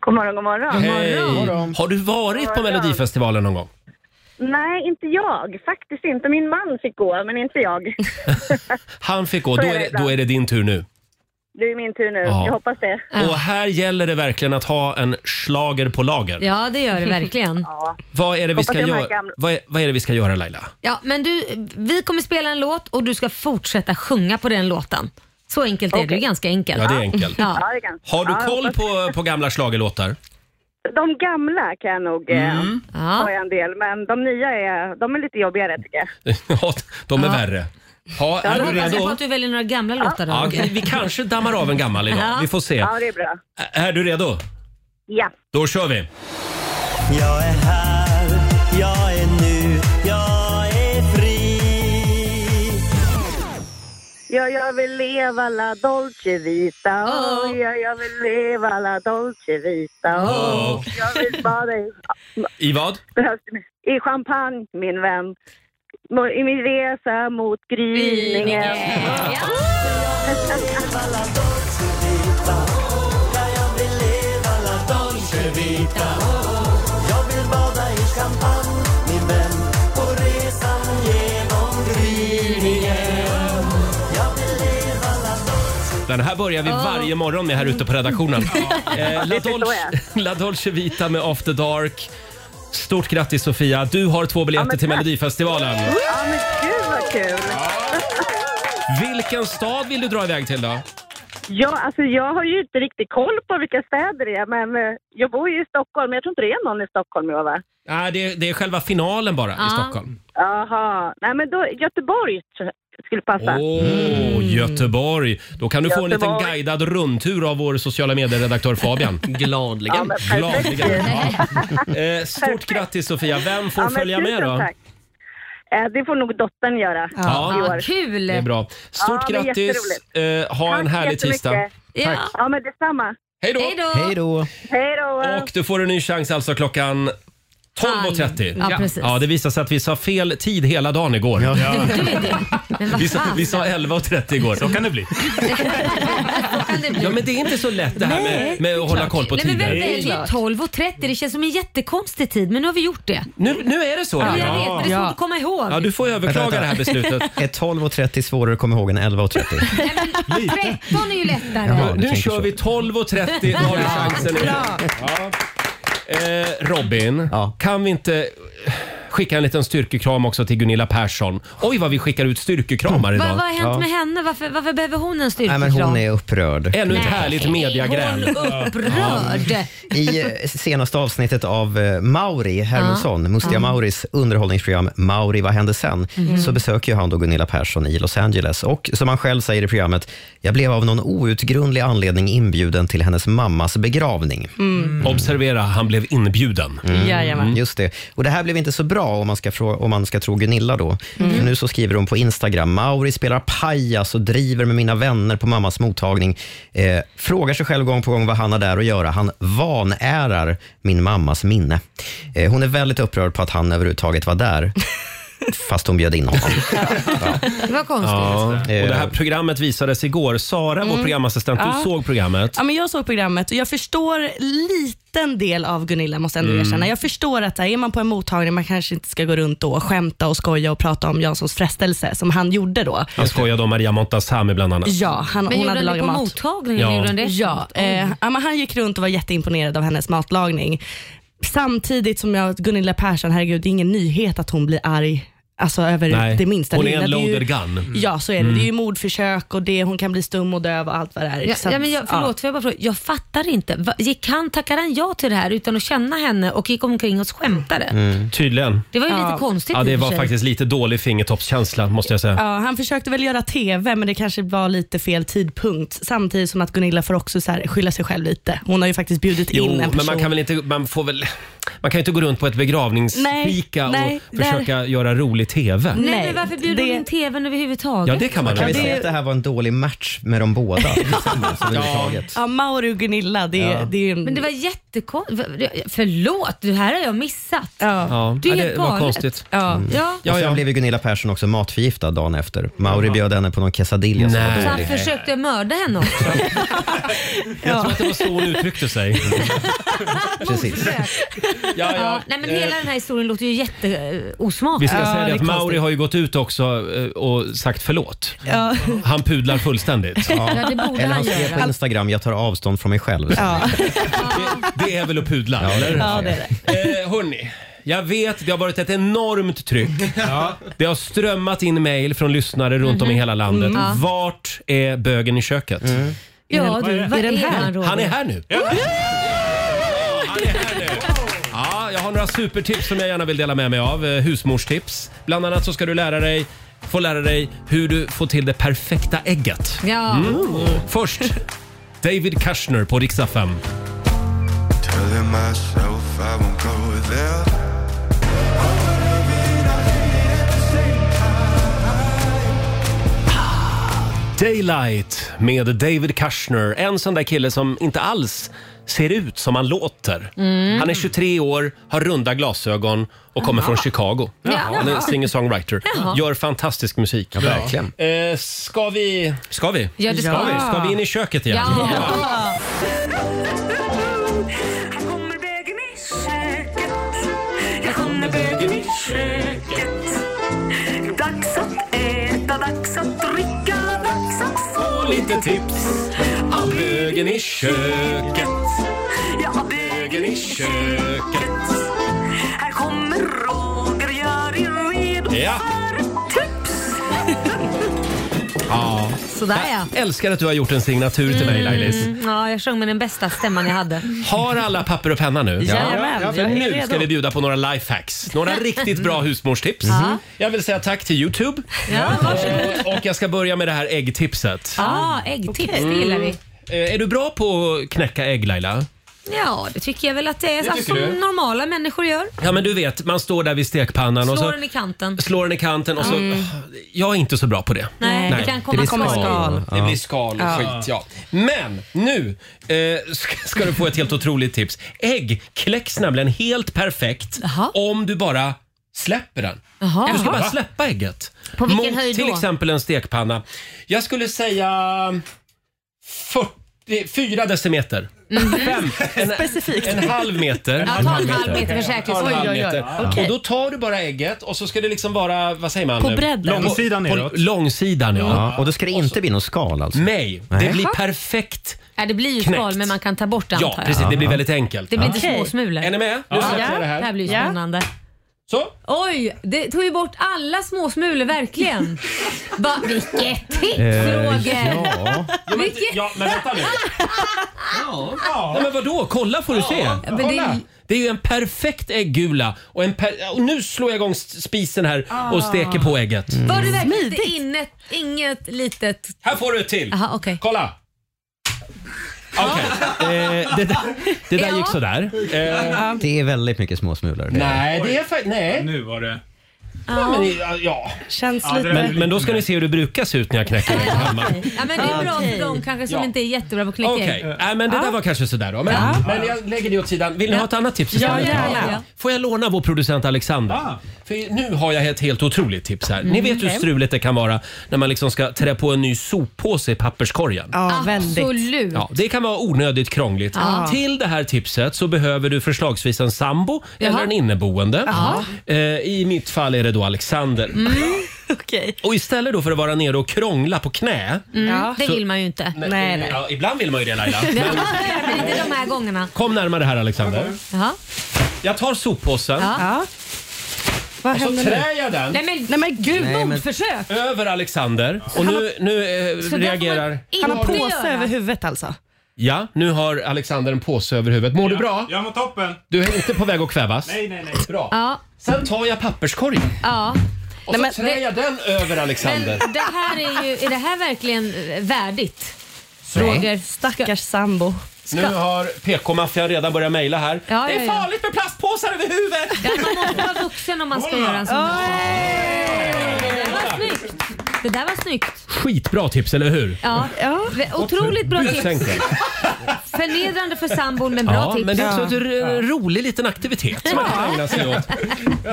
S6: God morgon, god morgon.
S1: Har du varit på
S6: God morgon.
S1: Melodifestivalen någon gång?
S6: Nej, inte jag. Faktiskt inte. Min man fick gå, men inte jag.
S1: Han fick gå.
S6: Så
S1: Då
S6: är det
S1: är det,
S6: ibland.
S1: då är det din tur nu.
S6: Det är min tur nu.
S1: Ja.
S6: Jag hoppas det.
S1: Och här gäller det verkligen att ha en slager på lager.
S2: Ja, det gör det verkligen.
S1: Vad, är det vi
S2: Hoppas
S1: ska
S2: jag de här
S1: göra?
S2: gamla-
S1: Vad, är, vad är det vi ska göra Laila?
S2: Ja, men du, vi kommer spela en låt och du ska fortsätta sjunga på den låten. Så enkelt är det, det är ganska enkelt.
S1: Ja, det är enkelt.
S2: Ja.
S1: Har du
S6: Ja, jag
S1: koll på, på gamla schlagerlåtar?
S6: De gamla kan jag nog
S1: Mm.
S6: eh, ha en del, men de nya är, de är lite jobbigare tycker jag.
S1: [laughs] Ja, De är
S2: Ja.
S1: värre. Ja,
S2: Ja, då
S1: är du
S2: hoppas jag på
S1: redo?
S2: att du väljer några gamla låtar. då,
S1: Ja,
S2: Roger.
S1: vi, vi kanske dammar av en gammal idag.
S2: Ja.
S1: Vi får se.
S6: Ja, det är bra.
S1: Ä- Är du redo?
S6: Ja.
S1: Då kör vi!
S14: Jag är här, jag är nu, jag är fri.
S6: Ja, jag vill leva la Dolce Vita. Oh, ja, jag vill leva la Dolce Vita. Oh,
S1: Oh.
S6: Jag vill bada i,
S1: I vad?
S6: behövs det mer? i champagne, min vän. Mo- I min resa mot gryningen.
S1: Den här börjar vi
S13: Ja.
S1: varje morgon med här ute på redaktionen. Eh, La,
S13: Det förstår
S1: Dolce, [laughs] La Dolce Vita med After Dark. Stort grattis Sofia! Du har två biljetter till Melodifestivalen.
S6: Ja, men gud vad kul!
S1: Vilken stad vill du dra iväg till då?
S6: Ja, alltså jag har ju inte riktigt koll på vilka städer det är, men eh, jag bor ju i Stockholm. Jag tror inte det är någon i Stockholm, jag va?
S1: Nej, det, det är själva finalen bara
S6: Ja.
S1: i Stockholm.
S6: Jaha. Nej, men då Göteborg tr- skulle passa.
S1: Åh, Göteborg! Då kan du få en liten
S6: Mm. Göteborg.
S1: guidad rundtur av vår sociala medieredaktör Fabian. Gladligen.
S6: Ja, men perfekt. [laughs]
S1: Gladligen. Ja. Eh, Stort grattis Sofia! Vem får
S6: Ja, men
S1: följa med
S6: tusen
S1: då?
S6: tack. Eh, Det får nog dottern göra.
S1: Ja.
S6: i
S1: Ja,
S6: år.
S2: kul!
S1: Det är bra. Stort
S6: Ja, men
S1: grattis!
S6: jätteroligt.
S1: Eh, ha en
S6: Tack
S1: härlig
S6: jättemycket.
S1: tisdag.
S6: Ja. ja, men detsamma.
S1: Hej då!
S3: Hej då!
S6: Hej då!
S1: Och du får en ny chans alltså klockan 12.30.
S2: Ja, precis.
S1: ja, det visar sig att vi sa fel tid hela dagen igår.
S2: Men vad
S1: Vi sa,
S2: fan.
S1: vi sa 11.30 igår. Så kan det bli.
S2: kan det bli?
S1: Ja, men det är inte så lätt det här med, med att hålla koll på
S2: Nej, men
S1: tider.
S2: vem väljer 12.30? Det känns som en jättekonstig tid, men nu har vi gjort det.
S1: Nu, nu är det så.
S2: Ja,
S1: Roger.
S2: jag vet, men det är svårt att komma ihåg.
S1: Ja, du får överklaga
S3: Vänta,
S1: det här
S3: vänta.
S1: beslutet.
S2: [laughs]
S3: [laughs] Är 12.30 svårare att komma ihåg än 11.30?
S2: 13 är ju lättare.
S3: Jaha, du
S1: Nu
S3: tänker
S1: kör
S3: så.
S1: vi 12.30. Då har du
S2: Ja,
S1: chansen.
S2: bra.
S1: Ja. Eh, Robin, kan vi inte eh, skicka en liten styrkekram också till Gunilla Persson? Oj, vad vi skickar ut styrkekramar
S2: Vad,
S1: idag.
S2: vad har hänt med henne? Varför, varför behöver hon en
S3: Nej,
S2: styrkekram?
S3: men hon är upprörd.
S1: Ännu ett härligt mediagräl.
S2: Hon är [laughs] upprörd.
S3: I eh, senaste avsnittet av eh, Mauri Hermansson,
S2: Ja.
S3: Mustiga
S2: Ja.
S3: Mauris underhållningsprogram Mauri, vad hände sen?
S2: Mhm.
S3: Så besöker ju han då Gunilla Persson i Los Angeles och som han själv säger i programmet, jag blev av någon outgrundlig anledning inbjuden till hennes mammas begravning.
S7: Mm.
S1: Observera, han blev inbjuden.
S7: Jajamän.
S3: Mm. Just det. Och det här blev inte så bra om man ska, frå- om man ska tro Gunilla då.
S1: Mm.
S3: För nu så skriver hon på Instagram, Mauri spelar pajas och driver med mina vänner på mammas mottagning. Eh, frågar sig själv gång på gång vad han har där att göra. Han vanärar min mammas minne. Eh, hon är väldigt upprörd på att han överhuvudtaget var
S1: [laughs]
S3: där. Fast hon bjöd in honom.
S2: Det var konstigt.
S1: Ja. Och det här programmet visades igår. Sara, vår
S7: Mm.
S1: programassistent, du
S7: Ja.
S1: såg programmet.
S7: Ja, men jag såg programmet och jag förstår liten del av Gunilla, måste jag ändå
S1: Mm.
S7: erkänna. Jag förstår att här, är man på en mottagning, man kanske inte ska gå runt då och skämta och skoja och prata om Janssons frestelse, som han gjorde då.
S1: Han skojade om Maria Montazami bland annat.
S7: Ja, han,
S2: Men
S7: hon
S2: gjorde
S7: hade
S2: han det
S7: lagat
S2: på
S7: mat.
S2: mottagningen? Ja. Gjorde han det
S7: Ja,
S2: efteråt?
S7: eh,
S2: Oj.
S7: ja, men han gick runt och var jätteimponerad av hennes matlagning. Samtidigt som jag, Gunilla Persson, herregud, det är ingen nyhet att hon blir arg. Alltså över
S1: Nej,
S7: det minsta
S1: hon är
S7: lilla.
S1: en
S7: Det ju-
S1: loaded gun.
S7: Ja, så är det.
S1: Mm.
S7: Det är ju mordförsök och det, hon kan bli stum och döv och allt vad det är.
S2: Ja,
S7: Så
S2: ja,
S7: att-
S2: men jag, förlåt, för jag, bara frågar, jag fattar inte. Va- Gick han, tackade han ja till det här utan att känna henne och gick omkring och skämtade?
S1: Mm. Tydligen.
S2: Det var ju lite konstigt
S1: Ja,
S2: i
S1: det
S2: och för
S1: var
S2: sig.
S1: faktiskt lite dålig fingertoppskänsla måste jag säga.
S7: Ja, han försökte väl göra TV, men det kanske var lite fel tidpunkt. Samtidigt som att Gunilla får också så här, skylla sig själv lite. Hon har ju faktiskt bjudit
S1: Jo,
S7: in en person.
S1: men man kan väl inte, man får väl, man kan ju inte gå runt på ett begravningsfika
S7: Nej, nej,
S1: och försöka göra rolig TV.
S2: Nej, men varför bjuder hon in TVn överhuvudtaget?
S1: Ja, det kan man
S3: Kan vi
S1: väl
S3: säga
S1: säga.
S3: att det här var en dålig match med de
S1: [laughs]
S3: båda tillsammans överhuvudtaget?
S7: Ja, Mauri och Gunilla, det,
S3: Ja.
S7: är det är ju en...
S2: Men det var jättekonstigt. Förlåt, det här har jag missat.
S3: Ja.
S2: Det är
S3: Ja,
S2: helt
S3: det var
S2: galet.
S3: konstigt.
S2: Ja.
S1: Mm.
S2: Ja.
S3: Och sen blev ju Gunilla Persson också matförgiftad dagen efter. Mauri bjöd henne på någon quesadilla som var
S2: Så han
S3: dålig.
S2: försökte mörda henne också.
S1: Jag tror att det var så hon uttryckte sig.
S3: Precis.
S1: [laughs] Ja, ja.
S2: Ja, nej, men
S1: Eh,
S2: hela den här historien låter ju jätteosmaklig.
S1: Vi ska säga det att Mauri har ju gått ut också eh, och sagt förlåt.
S2: Ja.
S1: Han pudlar fullständigt.
S2: Ja, det borde
S3: Eller han
S2: han
S3: skrev
S2: göra.
S3: på Instagram, jag tar avstånd från mig själv.
S1: Det är väl att pudla? eller?
S3: Ja, det
S1: är det. Eh, hörni, jag vet det har varit ett enormt tryck. Det har strömmat in mejl från lyssnare runt om i hela landet.
S2: Mm. Ja.
S1: Vart är bögen i köket?
S3: Mm.
S2: Ja, du, vad är,
S7: den här?
S2: han Roger?
S1: Han är här nu. Ja, jag har några supertips som jag gärna vill dela med mig av. Eh, Husmorstips. Bland annat så ska du lära dig få lära dig hur du får till det perfekta ägget.
S2: Ja.
S1: Mm. Först David Kushner på riksdag 5.
S15: Telling myself if I won't go without.
S1: Daylight med David Kushner. En sån där kille som inte alls ser ut som han låter.
S13: Mm.
S1: Han är 23 år, har runda glasögon och kommer
S13: Jaha.
S1: från Chicago.
S13: Jaha.
S1: Han är singer-songwriter.
S13: Jaha.
S1: Gör fantastisk musik.
S13: Ja, verkligen.
S1: Eh, ska vi? Ska vi?
S13: Ja, det ska
S1: vi.
S13: vi.
S1: Ska vi in i köket igen?
S13: Ja.
S5: Jag kommer bögen i köket Dags att äta, dags att dricka, dags att få
S1: lite tips av bögen i köket
S5: Ja, av bögen i
S1: köket
S5: Här kommer Roger, gör er redo
S1: Ja.
S5: för ett tips
S1: Ja.
S2: Sådär ja.
S1: Jag älskar att du har gjort en signatur till mig Lailis.
S2: Mm, ja, jag sjöng med den bästa stämman jag hade.
S1: Har alla papper och penna nu?
S2: Jajamän,
S1: För
S2: jag är
S1: nu
S2: redo. Mm.
S1: ska vi bjuda på några lifehacks. Några riktigt bra husmorstips. Mm.
S2: Ja.
S1: Jag vill säga tack till Youtube. och, och jag ska börja med det här äggtipset.
S2: Ja, äggtips, Ah, det
S1: Mm.
S2: gillar vi.
S1: Eh, Är du bra på att knäcka ägg Laila?
S2: Ja, det tycker jag väl att det är
S1: Det
S2: så här
S1: tycker
S2: som
S1: du?
S2: normala människor gör.
S1: Ja men du vet, man står där vid stekpannan och
S2: Slår
S1: så
S2: den i kanten.
S1: alltså- slår den i kanten och så...
S2: Mm.
S1: "Åh, Jag är inte så bra på det.
S2: Nej, det kan komma Det blir komma skal. skal.
S1: Det
S2: Ja.
S1: blir skal och
S2: Ja.
S1: skit ja. Men nu eh, ska, ska du få ett helt otroligt tips. Ägg kläcks nämligen helt perfekt om du bara släpper den.
S2: Jaha.
S1: Du ska
S2: Jaha.
S1: bara släppa ägget.
S2: På vilken
S1: Mot
S2: höjd
S1: till
S2: då?
S1: exempel en stekpanna. Jag skulle säga 40, 4 decimeter. Fem, en,
S13: Specifikt.
S1: en halv meter.
S13: Ja, ta en halv meter för säkerhets skull.
S1: Ta en halv
S13: Oj, oj, oj.
S1: meter.
S13: Okej.
S1: Och då tar du bara ägget och så ska det liksom vara, vad säger man?
S3: På bredden. Långsidan
S1: På- på
S3: neråt.
S1: Långsidan ja.
S3: Ja, och då ska det inte bli något skal alltså?
S1: Nej,
S3: Nej.
S1: det blir perfekt.
S2: Ja, det blir ju
S1: Knäckt.
S2: skal men man kan ta bort det
S1: Ja,
S2: antar jag.
S1: precis. Det blir väldigt enkelt.
S2: Det blir inte
S1: Ja.
S2: små smulor.
S1: Är ni med? Nu
S2: Ja.
S1: släpper jag det
S2: det
S1: här.
S2: här blir ju
S1: Ja.
S2: spännande.
S1: Så.
S2: Oj, det tog ju bort alla små smulor
S1: [laughs]
S2: verkligen. Va, vilket tips
S1: Eh,
S2: Roger!
S1: ja.
S2: Vilket...
S1: ja, men vänta nu. Nej, men vadå? Kolla får du se.
S2: men det-
S1: Kolla. Det är ju en perfekt ägggula och, en per- och nu slår jag igång s- spisen här
S2: Ah. Mm.
S1: och steker på ägget.
S2: Var det verkligen inte inne, inget litet...
S1: Här får du ett till.
S2: Aha, okay.
S1: Kolla! Okej, eh, det där, det där
S2: Ja.
S1: gick sådär. Eh,
S3: Det är väldigt mycket små smulor.
S1: [laughs] nej, det är faktiskt... Nej.
S4: Nu var det...
S1: Ja, men,
S2: Ah.
S1: ja, ja.
S7: Känns
S1: Ja,
S7: lite...
S1: Men, men då ska ni se hur det brukar se ut när jag knäcker ägg hemma.
S2: Ja, men det är bra
S7: Okej.
S2: för de kanske som
S1: Ja.
S2: inte är jättebra på att knäcka
S1: Okej, Äh,
S2: ägg.
S1: Nej, men det där var kanske sådär då. Men,
S2: Ja.
S1: men jag lägger det åt sidan. Vill ni
S2: Ja.
S1: ha ett annat tips
S2: Ja,
S1: istället?
S2: gärna. Ja.
S1: Får jag låna vår producent Alexander?
S2: Ah.
S1: För nu har jag ett helt otroligt tips här. Ni
S7: Mm.
S1: vet hur
S7: Okej.
S1: struligt det kan vara när man liksom ska trä på en ny soppåse i papperskorgen.
S7: Ja, väldigt.
S2: Absolut.
S1: Ja, det kan vara onödigt krångligt.
S7: Ja.
S1: Till det här tipset så behöver du förslagsvis en sambo
S7: Jaha.
S1: eller en inneboende.
S7: Jaha.
S1: Eh, I mitt fall är det då Alexander.
S2: Mm.
S1: [laughs] Och istället då för att vara nere och krångla på knä.
S2: Mm, Det
S1: så-
S2: vill man ju inte. Nej,
S1: Ja, ibland vill man ju det Laila.
S2: Ja,
S1: Men
S2: men [laughs] inte de här gångerna.
S1: kom närmare här Alexander.
S2: Jaha.
S1: Jag tar soppåsen.
S7: Ja. Vad
S1: Och så
S7: händer nu?
S1: trär jag Alltså, den.
S2: Nej men, nej, men gud,
S1: Nej, men-
S2: mordförsök!
S1: Över Alexander. Och nu, nu eh,
S7: Så där får man-
S1: reagerar...
S7: Han har
S2: inte
S7: påse
S2: göra.
S7: över huvudet alltså.
S1: Ja, nu har Alexander en påse över huvudet. Mår du bra?
S4: Jag mår toppen.
S1: Du är inte på väg att kvävas?
S4: Nej, nej, nej.
S1: Bra.
S2: Ja.
S1: Sen tar jag papperskorgen
S2: Ja.
S1: och
S2: Nej, men
S1: så trär
S2: det-
S1: jag den över Alexander.
S2: Det här är ju, är det här verkligen eh, värdigt?
S1: Så.
S2: Roger, stackars
S7: sambo.
S1: Nu har PK-maffian redan börjat mejla här.
S2: Ja,
S1: det är
S2: ja, ja.
S1: farligt med plastpåsar över huvudet!
S2: Ja, man måste vara vuxen om man ska göra en sån här. Det där var snyggt. Det där var snyggt.
S1: Skitbra tips, eller hur?
S2: Ja. Otroligt bra
S1: Just tänkt
S2: tips.
S1: det.
S2: Förnedrande för sambon men bra
S1: ja,
S2: tips.
S1: Men det är också
S2: Ja.
S1: en r- rolig liten aktivitet som man kan ägna sig åt.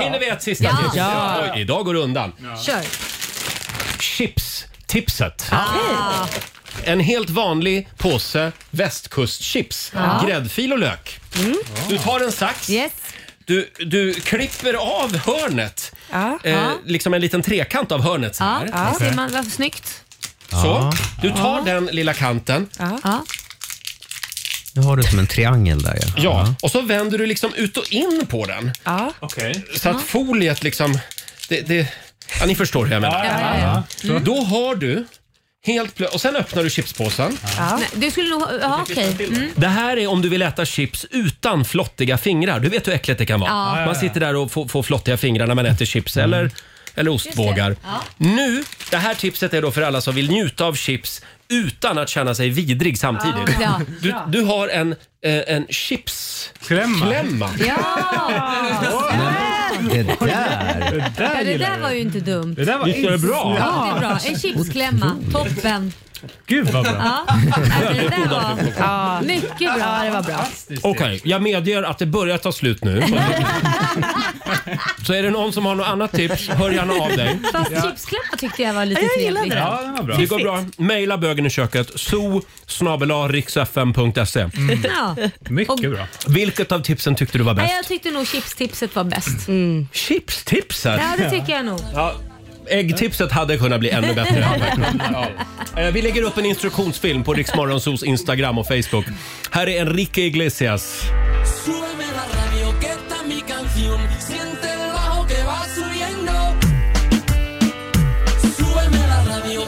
S1: Hinner vi ett sista
S2: Ja.
S1: tips?
S2: Ja.
S1: Oj, idag går det undan.
S2: Kör.
S1: Chips-tipset.
S2: Ah.
S1: En helt vanlig påse västkustchips.
S13: Ja.
S1: Gräddfil och lök.
S2: Mm.
S1: Du tar en sax. Du, du klipper av hörnet. Eh,
S2: Ja.
S1: liksom en liten trekant av hörnet. Så,
S2: Ja,
S1: här.
S2: det ser man. Vad snyggt.
S1: så. Du tar den lilla kanten
S2: Ja.
S3: Nu har du som en triangel där ja.
S1: Ja, och så vänder du liksom ut och in på den.
S7: Ja.
S1: Så att foliet liksom... Det, det, ja, ni förstår hur jag menar.
S2: Ja, ja, ja.
S1: Mm. Då har du helt plö- Och sen öppnar du chipspåsen.
S2: Nej, Du skulle nog... Ja, okej. Mm.
S1: Det här är om du vill äta chips utan flottiga fingrar. Du vet hur äckligt det kan vara.
S2: Ja. Ja, ja, ja.
S1: Man sitter där och får, får flottiga fingrar när man äter chips eller, eller ostbågar. Nu, det här tipset är då för alla som vill njuta av chips utan att känna sig vidrig samtidigt.
S2: Ja,
S1: Du,
S2: ja.
S1: du har en, eh, en chipsklämma. Klämma.
S3: Det där.
S1: [laughs] Det där
S2: ja, det
S1: gillar
S2: där
S1: vi.
S2: var ju inte dumt.
S1: Det där var Visst var det bra?
S2: Ja, det är bra. En chipsklämma. Toppen.
S1: Gud vad bra.
S2: Ja. Det där var mycket bra. Ja, det var bra.
S1: Okej, jag medger att det börjar ta
S2: [laughs]
S1: slut nu. Så är det någon som har något annat tips, hör gärna av dig.
S2: Fast chipsklämma tyckte jag var lite
S7: Ja, jag gillade
S2: trevlig.
S7: det. Ja, den var
S1: Det går bra. Maila bögen i köket, so
S2: Mm. Ja.
S1: Mycket bra. Vilket av tipsen tyckte du var
S2: Nej,
S1: bäst?
S2: jag tyckte nog chipstipset var bäst.
S1: Chipstipset?
S2: Ja, det tycker jag nog.
S1: Ja, äggtipset hade kunnat bli ännu bättre. Ja, verkligen. ja. Eh, Vi lägger upp en instruktionsfilm på Riksmorgonsos Instagram och Facebook. Här är Enrique Iglesias.
S5: Súbeme la radio que está mi canción. Siente el bajo que va subiendo. Súbeme la radio.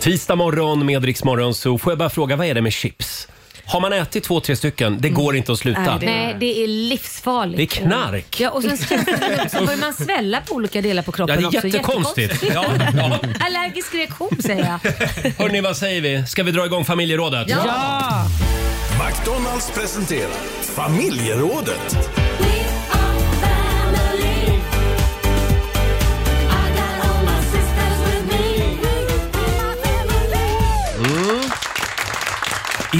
S1: Tisdag morgon med Rix Morgonzoo. Får jag bara fråga, vad är det med chips? Har man ätit två, tre stycken, det går inte att sluta.
S2: Nej, det är livsfarligt.
S1: Det är knark.
S2: Ja, och sen känns det- så börjar man svälla på olika delar på
S1: Ja,
S2: kroppen
S1: det är
S2: också.
S1: jättekonstigt. Ja, ja.
S2: Allergisk reaktion säger jag.
S1: Hörni, vad säger vi? Ska vi dra igång familjerådet?
S2: Ja.
S10: McDonalds presenterar familjerådet.
S1: Mm.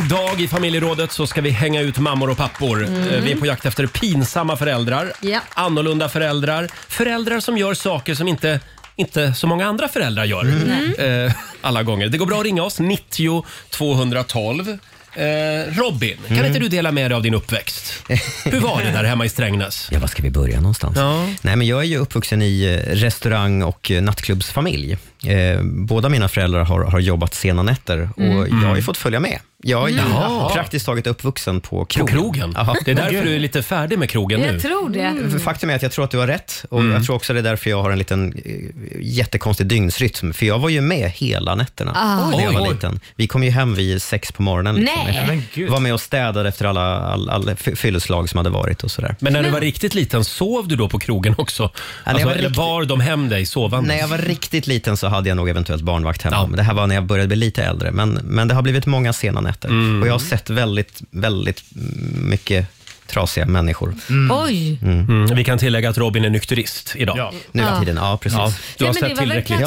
S1: Idag i familjerådet så ska vi hänga ut mammor och pappor.
S2: Mm.
S1: Eh, Vi är på jakt efter pinsamma föräldrar,
S2: Ja.
S1: annorlunda föräldrar, föräldrar som gör saker som inte inte så många andra föräldrar gör
S3: Mm.
S1: eh, alla gånger. Det går bra att ringa oss, 90 212. Eh, Robin, kan
S3: Mm.
S1: inte du dela med dig av din uppväxt?
S3: [laughs]
S1: Hur var det där hemma i Strängnäs?
S3: Ja, var ska vi börja någonstans? Nej, men jag är ju uppvuxen i eh, restaurang och eh, nattklubbsfamilj. Eh, båda mina föräldrar har, har jobbat sena nätter och
S1: Mm.
S3: jag har ju
S1: Mm.
S3: fått följa med. Jag är ju
S1: Mm. Jaha.
S3: praktiskt taget uppvuxen på krogen.
S1: krogen? Det är därför du är lite färdig med krogen
S2: Jag nu. tror det. Mm.
S3: Faktum är att jag tror att du har rätt och
S1: Mm.
S3: jag tror också det är därför jag har en liten eh, jättekonstig dygnsrytm. För jag var ju med hela nätterna
S2: Ah.
S3: när jag
S2: Oj.
S3: var liten. Vi kom ju hem vid sex på morgonen. liksom.
S2: Nej. Men
S1: gud.
S3: Var med och städade efter alla, alla, alla fy- fylleslag som hade varit och sådär.
S1: Men när du var riktigt liten, sov du då på krogen också?
S3: jag
S1: Alltså,
S3: var
S1: eller
S3: riktigt-
S1: bar de hem dig sovandes?
S3: När jag var riktigt liten så hade jag nog eventuellt barnvakt hemma. Men Det här var när jag började bli lite äldre. Men, men det har blivit många sena nätter.
S1: Mm.
S3: Och jag har sett väldigt, väldigt mycket trasiga människor.
S2: Oj.
S1: Mm. Vi kan tillägga att Robin är nykterist idag.
S3: Ja. Nu för tiden, ja, precis.
S1: Du har
S2: Nej, men
S1: sett
S2: det var väl
S1: tillräckligt.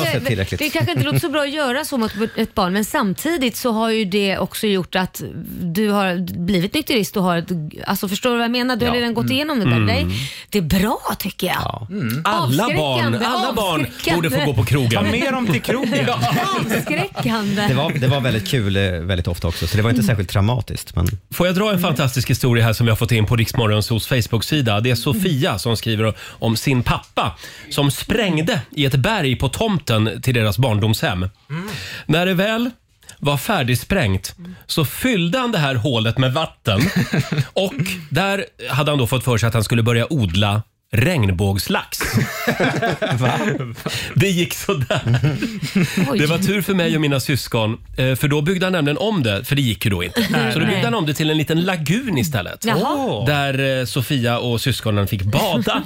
S2: kanske- Det kanske inte låter så bra att göra så mot ett barn, men samtidigt så har ju det också gjort att du har blivit nykterist och har ett, alltså förstår du vad jag menar? Du har
S1: Ja.
S2: redan gått
S1: Mm.
S2: igenom det där.
S1: Mm.
S2: Det, det är bra tycker jag.
S15: Mm.
S1: Alla barn,
S2: Avskräckande,
S1: alla barn
S2: avskräckande.
S1: borde få gå på krogen.
S2: Ta med dem till
S1: [laughs] krogen.
S2: Avskräckande.
S3: Det var, det var väldigt kul eh, väldigt ofta också, så det var inte särskilt traumatiskt. Men...
S1: [laughs] Får jag dra en fantastisk historia här som vi har fått in på Riksmorgonsos Facebook-sida? Det är Sofia som skriver om sin pappa som sprängde i ett berg på tomten till deras barndomshem. När det väl var färdigsprängt så fyllde han det här hålet med [laughs] vatten och där hade han då fått för sig att han skulle börja odla
S4: [laughs]
S1: regnbågslax. Det gick sådär. Det var tur för mig och mina syskon, eh, för då byggde han nämligen om det, för det gick ju då inte.
S2: Nej.
S1: Så då byggde
S2: Nej.
S1: han om det till en liten lagun istället.
S2: Jaha.
S1: Där eh, Sofia och syskonen fick
S2: [laughs]
S1: bada.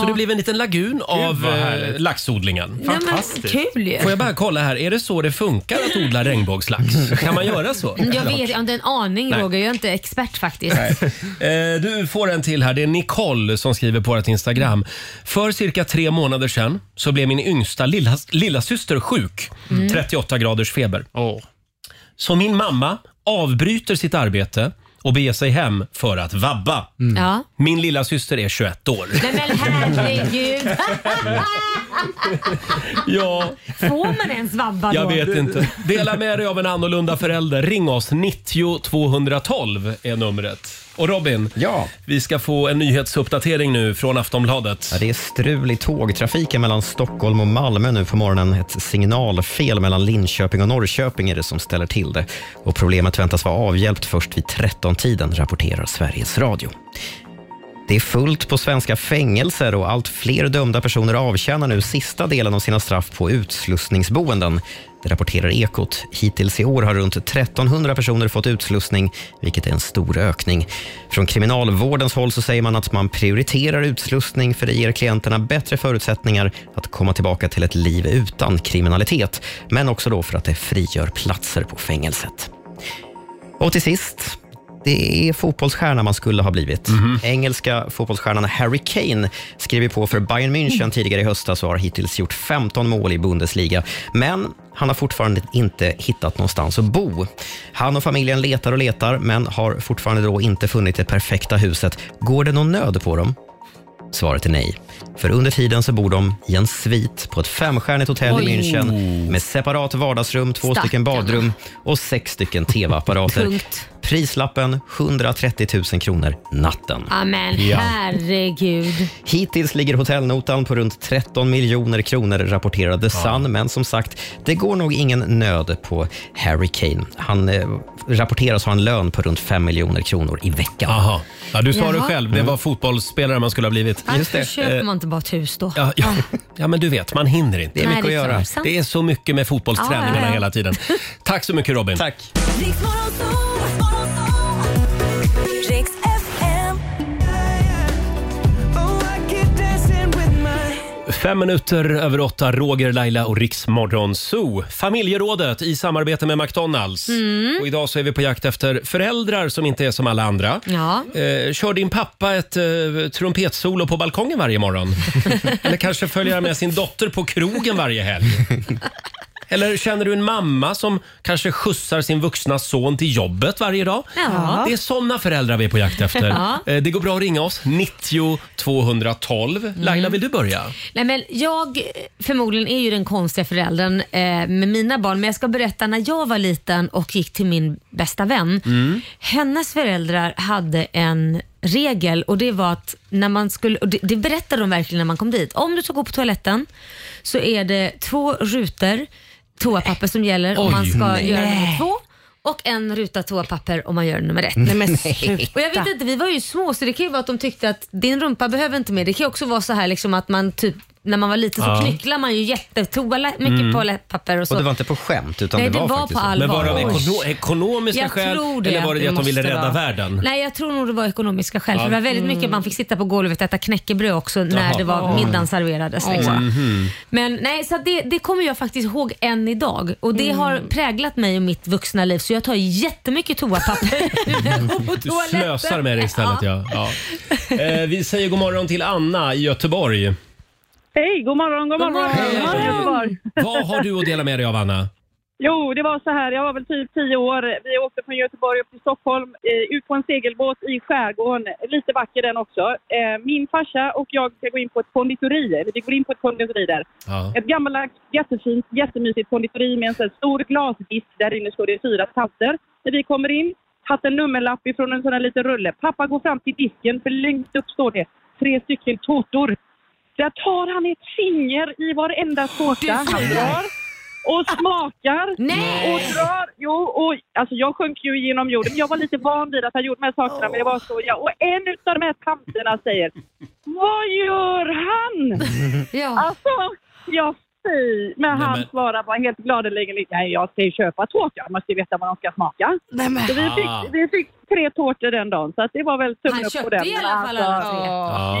S1: Så det blev en liten lagun av
S4: vad
S1: eh,
S4: härligt.
S1: laxodlingen.
S2: Nej, men Fantastiskt. kul ju.
S1: Får jag bara kolla här, är det så det funkar att odla regnbågslax? Kan man göra så?
S2: Jag vet jag har inte en aning
S1: Nej.
S2: Roger, jag är inte expert faktiskt.
S1: Nej. [laughs] Eh, Du får en till här. Det är Nicole som skriver på vårt Instagram. För cirka tre månader sedan så blev min yngsta lilla, lilla syster sjuk.
S5: Mm.
S1: 38 graders feber. Så min mamma avbryter sitt arbete och beger sig hem för att vabba.
S2: Ja.
S1: Min lilla syster är 21 år.
S2: Nej Mm. men herregud.
S1: [laughs] Ja,
S2: Får man ens vabba
S1: jag
S2: då?
S1: vet inte. Dela med dig av en annorlunda förälder. Ring oss. 90 212 är numret. Och Robin,
S3: ja.
S1: vi ska få en nyhetsuppdatering nu från Aftonbladet.
S3: Ja, det är strul i tågtrafiken mellan Stockholm och Malmö nu på morgonen. Ett signalfel mellan Linköping och Norrköping är det som ställer till det. Och problemet väntas vara avhjälpt först vid 13-tiden, rapporterar Sveriges Radio. Det är fullt på svenska fängelser och allt fler dömda personer avtjänar nu sista delen av sina straff på utslussningsboenden. Det rapporterar Ekot. Hittills i år har runt 1300 personer fått utslussning, vilket är en stor ökning. Från kriminalvårdens håll så säger man att man prioriterar utslussning för det ger klienterna bättre förutsättningar att komma tillbaka till ett liv utan kriminalitet, men också då för att det frigör platser på fängelset. Och till sist, det är fotbollsstjärna man skulle ha blivit. Engelska fotbollsstjärnan Harry Kane skrev ju på för Bayern München tidigare i höstas och har hittills gjort 15 mål i Bundesliga. Men han har fortfarande inte hittat någonstans att bo. Han och familjen letar och letar, men har fortfarande då inte funnit det perfekta huset. Går det någon nöd på dem? Svaret är nej. För under tiden så bor de i en svit på ett femstjärnigt hotell
S15: Oj.
S3: i München med separat vardagsrum, två stycken
S15: Stackarna.
S3: badrum och sex stycken tv-apparater.
S2: Punkt.
S3: Prislappen 130 000 kronor natten.
S2: Amen,
S3: Ja.
S2: herregud.
S3: Hittills ligger hotellnotan på runt 13 miljoner kronor, rapporterar The Sun. Men som sagt, det går nog ingen nöd på Harry Kane. Han eh, rapporteras ha en lön på runt 5 miljoner kronor i veckan. Mm.
S1: Aha. Ja, du sa
S2: Jaha.
S1: det själv, det var fotbollsspelare man skulle ha blivit.
S2: Varför köper man inte bara ett hus då?
S1: Eh, Ja, ja. ja, men du vet, man hinner inte.
S2: Det är Nej, mycket det är att göra. klart. Sant.
S1: Det är så mycket med fotbollsträningarna
S2: Ja, ja, ja. [laughs]
S1: hela tiden. Tack så mycket Robin. Tack.
S15: Riks FM. Oh, I keep dancing with my
S1: Fem minuter över åtta, Roger, Laila och Riksmorgon Zoo. Familjerådet i samarbete med McDonalds.
S2: Mm.
S1: Och idag så är vi på jakt efter föräldrar som inte är som alla andra.
S2: Ja.
S1: Eh, kör din pappa ett eh, trumpetsolo på balkongen varje morgon? Eller kanske följer han med sin dotter på krogen varje helg? Eller känner du en mamma som kanske skjutsar sin vuxna son till jobbet varje dag?
S15: Ja.
S1: Det är sådana föräldrar vi är på jakt efter.
S2: Ja.
S1: Eh, Det går bra att ringa oss, 90 212.
S2: Mm.
S1: Laila, vill du börja?
S2: Nej, men jag eh, förmodligen är ju den konstiga föräldern eh, med mina barn, men jag ska berätta när jag var liten och gick till min bästa vän. Hennes föräldrar hade en regel och det var att när man skulle, och det, det berättade de verkligen när man kom dit. Om du ska gå på toaletten så är det två rutor toapapper som gäller om
S13: Oj.
S2: man ska
S13: Nej.
S2: göra nummer två och en ruta toapapper om man gör nummer ett.
S7: Nej, men
S2: och jag
S7: sluta.
S2: vet inte, vi var ju små så det kan ju vara att de tyckte att din rumpa behöver inte mer. Det kan ju också vara så här liksom att man typ när man var liten så
S3: Ja.
S2: knycklar man ju jättetoala mycket
S3: Mm.
S2: toalettpapper och så.
S3: Och det var inte på skämt, utan
S2: Nej,
S3: det var, faktiskt
S2: på allvar.
S1: Men var det av ekono- ekonomiska
S2: Jag
S1: skäl
S2: tror det.
S1: eller var det, det att de ville
S2: måste
S1: rädda
S2: vara.
S1: världen?
S2: Nej, jag tror nog det var ekonomiska skäl.
S1: Ja.
S2: För det var väldigt
S1: Mm.
S2: mycket man fick sitta på golvet och äta knäckebröd också när
S1: Jaha. Mhm.
S2: det var
S1: Mm.
S2: middagen serverades. Liksom.
S3: Mm-hmm.
S2: Men nej, så att det, det kommer jag faktiskt ihåg än idag och det har
S1: Mm.
S2: präglat mig och mitt vuxna liv så jag tar jättemycket
S1: [laughs]
S2: toapapper när jag går [laughs] på
S1: Du
S2: toaletten.
S1: slösar med det istället. Ja. Ja. Eh, vi säger god morgon till Anna i Göteborg.
S16: Hej, god morgon, god morgon.
S1: morgon.
S16: från Göteborg.
S1: Vad har du att dela med dig av Anna?
S16: Jo, det var så här, jag var väl typ tio år. Vi åkte från Göteborg upp till Stockholm, eh, ut på en segelbåt i skärgården. Lite vacker den också. Eh, Min farsa och jag ska gå in på ett konditori, eller vi går in på ett konditori där.
S15: Ja.
S16: Ett gammaldags, jättefint, jättemysigt konditori med en sån här stor glasdisk. Där inne står det fyra tasser. När vi kommer in, tagit en nummerlapp ifrån en sån här liten rulle. Pappa går fram till disken, för längst upp står det tre stycken tårtor. Där tar han ett finger i varenda tårta han
S15: ser.
S16: drar och smakar
S15: Nej.
S16: och drar. Jo, och, alltså jag sjönk ju genom jorden. Jag var lite van vid att han gjorde de här sakerna, men det var så. Ja, och en utav de här tanterna säger Vad gör han? Alltså, jag fy. Men han svarar bara helt gladeligen Nej, jag ska ju köpa tårta. Man ska ju veta vad de ska smaka.
S15: men-
S16: Så vi
S15: Ah.
S16: fick, vi fick tre tårtor den dagen, så att det var väl
S15: Han
S16: tummen upp på
S15: köpte
S16: den.
S15: i
S16: Men
S15: alla fall alla tre.
S16: Ja.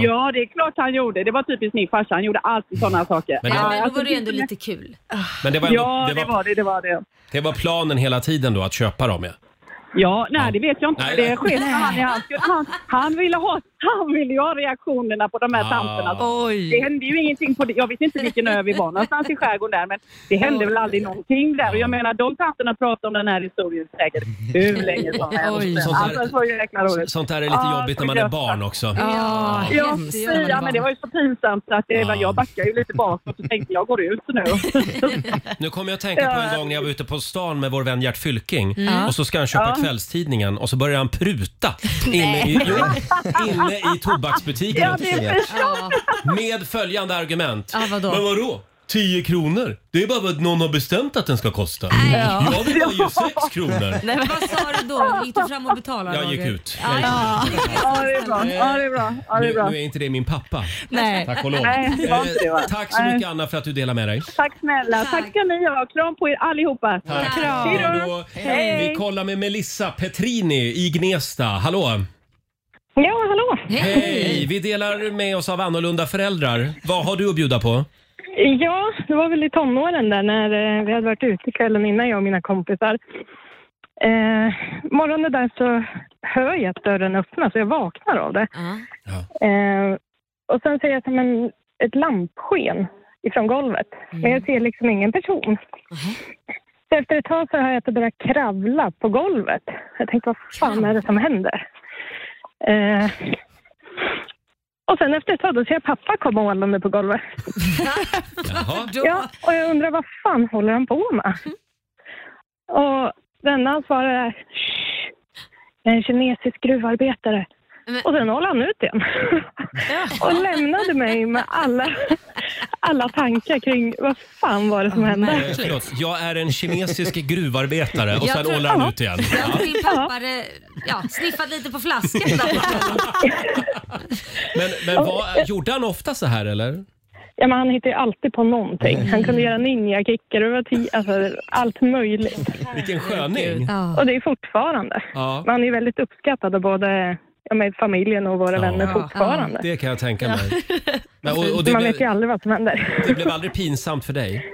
S15: Ja.
S16: ja, det är klart han gjorde. Det var typiskt min farsa. Han gjorde alltid sådana saker.
S1: Men det var- Ja, men då
S16: alltså,
S2: var det ju ändå lite kul.
S1: Men det var ändå-
S16: ja,
S1: det
S16: det
S1: var-
S16: var... det var det. det, var det.
S1: Det var planen hela tiden då att köpa dem. Ja.
S16: Ja, nej det vet jag inte.
S1: Nej,
S16: det
S1: nej.
S16: sket han i. Han, skulle- han, han, ville ha, han ville ju ha reaktionerna på de här
S1: Ah.
S16: tanterna. Alltså, Det hände ju ingenting på det. Jag vet inte vilken ö vi var någonstans i skärgården där, men det hände väl aldrig någonting där. Och jag menar, de tanterna pratade om den här historien säkert hur länge som
S1: Oj.
S16: helst.
S1: Sånt där-
S16: Alltså, så jäkla roligt.
S1: Sånt där är lite
S16: Ah,
S1: jobbigt när man
S16: så
S1: är
S16: gött.
S1: barn också.
S16: Ja,
S1: Ja.
S16: ja,
S15: hemskt.
S16: fy, ja, men det var ju så pinsamt så att det
S1: Ah.
S16: var, jag backade ju lite bakåt och tänkte jag går ut nu.
S1: Nu kommer jag att tänka på en gång när jag var ute på stan med vår vän Gert Fylking
S16: Mm.
S1: och så ska han köpa
S16: Ja.
S1: kvällstidningen och så börjar han pruta inne
S5: [laughs]
S1: i,
S15: Nej.
S1: jo, inne i tobaksbutiken.
S15: Ja, det är
S1: Med följande argument.
S15: Ja, vadå?
S1: Men vadå? 10 kronor? Det är bara vad någon har bestämt att den ska kosta.
S2: Ja.
S1: Jag vill ha ju 6 kronor.
S2: Nej, men vad sa du då? Gick du fram och betalade?
S1: Jag gick
S2: Roger?
S1: ut.
S2: Ja, Eh, ja.
S16: Ja, det är bra. Ja, det är bra. Ja, det
S1: Nu,
S16: är bra.
S1: nu är inte det min pappa.
S16: Nej.
S1: Tack och lov.
S16: Nej, det var
S1: Eh,
S16: inte det, va?
S1: Tack så
S16: Nej.
S1: mycket Anna för att du delar med dig.
S16: Tack snälla. Tack ska ni ha. Kram på er allihopa.
S1: Tack.
S16: Kram.
S1: Hej då. Vi kollar med Melissa Petrini i Gnesta. Hallå!
S16: Ja, hallå.
S1: Hej! Vi delar med oss av annorlunda föräldrar. Vad har du att bjuda på?
S17: Ja, det var väl i tonåren där när eh, vi hade varit ute kvällen innan jag och mina kompisar. Eh, morgonen där så hör jag att dörren öppnas och jag vaknar av det. Eh, och sen ser jag som en, ett lampsken ifrån golvet. Men jag ser liksom ingen person. Så efter ett tag så hör jag att det börjar kravla på golvet. Jag tänkte, vad fan är det som händer? Eh, och sen efter ett tag då ser jag pappa komma ålande på golvet. Ja, Mm. och jag undrar vad fan håller han på med? Och denna han svarar är "Shh, jag är en kinesisk gruvarbetare. Och sen håller han ut igen. [laughs] och lämnade mig med alla, alla tankar kring vad fan var det som hände.
S1: Eh, förlåt, jag är en kinesisk gruvarbetare eh, och
S17: Jag
S1: sen
S17: tror-
S1: ålar han ut igen.
S2: Jag tror din pappa hade ja, sniffat lite på flaskan där.
S1: Men, men vad, gjorde han ofta så här eller?
S17: Ja, men han hittar ju alltid på någonting. Han kunde göra ninjakickar, det var ti- alltså, allt möjligt.
S1: Vilken sköning!
S17: Och det är fortfarande.
S1: Ja.
S17: Man är ju väldigt uppskattad av både ja, med familjen och våra vänner fortfarande.
S1: Det kan jag tänka mig. Men, och, och
S17: Alltså, Man
S1: det,
S17: vet ju
S1: blev,
S17: aldrig vad som händer.
S1: det blev aldrig pinsamt för dig?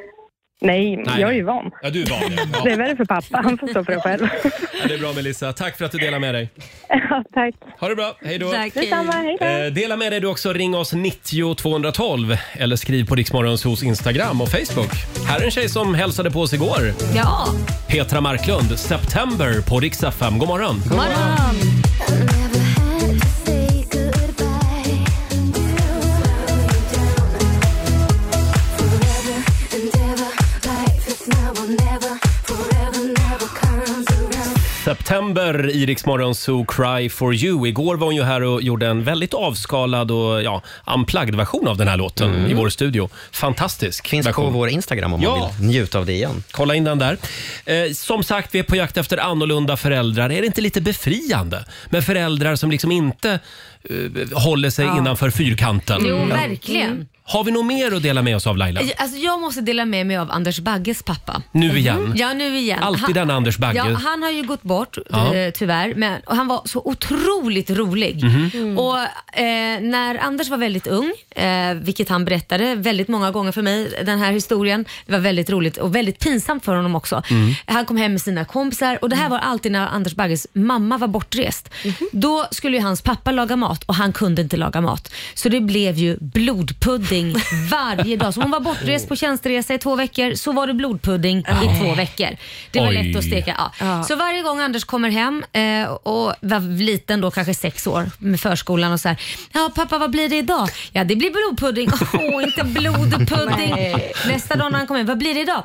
S17: Nej,
S1: Nej,
S17: jag är ju
S1: nej.
S17: van.
S1: Ja, du är van.
S17: [laughs]
S1: ja.
S17: Det är
S1: Ja.
S17: värre för pappa, han får stå för det själv. [laughs]
S1: Ja, det är bra Melissa. Tack för att du delar med dig.
S17: Ja, tack.
S1: Ha det bra, hej då.
S17: Tack, hej. Detsamma, hej då.
S1: Eh, dela med dig du också. Ring oss 90 212 eller skriv på Riksmorgons hos Instagram och Facebook. Här är en tjej som hälsade på oss igår.
S2: Ja.
S1: Petra Marklund, September på Riksdag 5. God morgon!
S2: God morgon.
S1: September i Riksmorgon Zoo Cry for you. Igår var hon ju här och gjorde en väldigt avskalad och ja, unplugged version av den här låten i vår studio. Fantastisk
S3: Mm. Finns
S1: version.
S3: på vår Instagram om man
S1: Ja.
S3: vill njuta av det igen.
S1: Kolla in den där. Eh, som sagt, vi är på jakt efter annorlunda föräldrar. Är det inte lite befriande med föräldrar som liksom inte eh, håller sig
S2: Ja.
S1: innanför fyrkanten?
S2: Jo,
S1: Ja.
S2: verkligen.
S1: Har vi något mer att dela med oss av Laila?
S2: Alltså, jag måste dela med mig av Anders Bagges pappa.
S1: Nu igen.
S2: Ja, nu igen.
S1: Mm. Alltid denna Anders Bagge.
S2: Ja, han har ju gått bort
S1: Ja.
S2: eh, tyvärr, men och han var så otroligt rolig. Mm.
S1: Mhm.
S2: Och, eh, när Anders var väldigt ung, eh, vilket han berättade väldigt många gånger för mig, den här historien, det var väldigt roligt och väldigt pinsamt för honom också.
S13: Mm.
S2: Han kom hem med sina kompisar och det här var alltid när Anders Bagges mamma var bortrest.
S13: Mhm.
S2: Då skulle ju hans pappa laga mat och han kunde inte laga mat. Så det blev ju
S13: [laughs]
S2: blodpudding varje dag. Så hon var bortrest på tjänsteresa i två veckor, så var det blodpudding i
S13: Ah.
S2: två veckor. Det var
S13: Oj.
S2: lätt att steka. Ja.
S13: Ja.
S2: Så varje gång Anders kommer hem eh, och var liten då, kanske sex år, med förskolan och så här. Ja pappa vad blir det idag? Ja det blir blodpudding. [laughs] Åh inte blodpudding.
S13: Nej.
S2: Nästa dag när han kommer hem, vad blir det idag?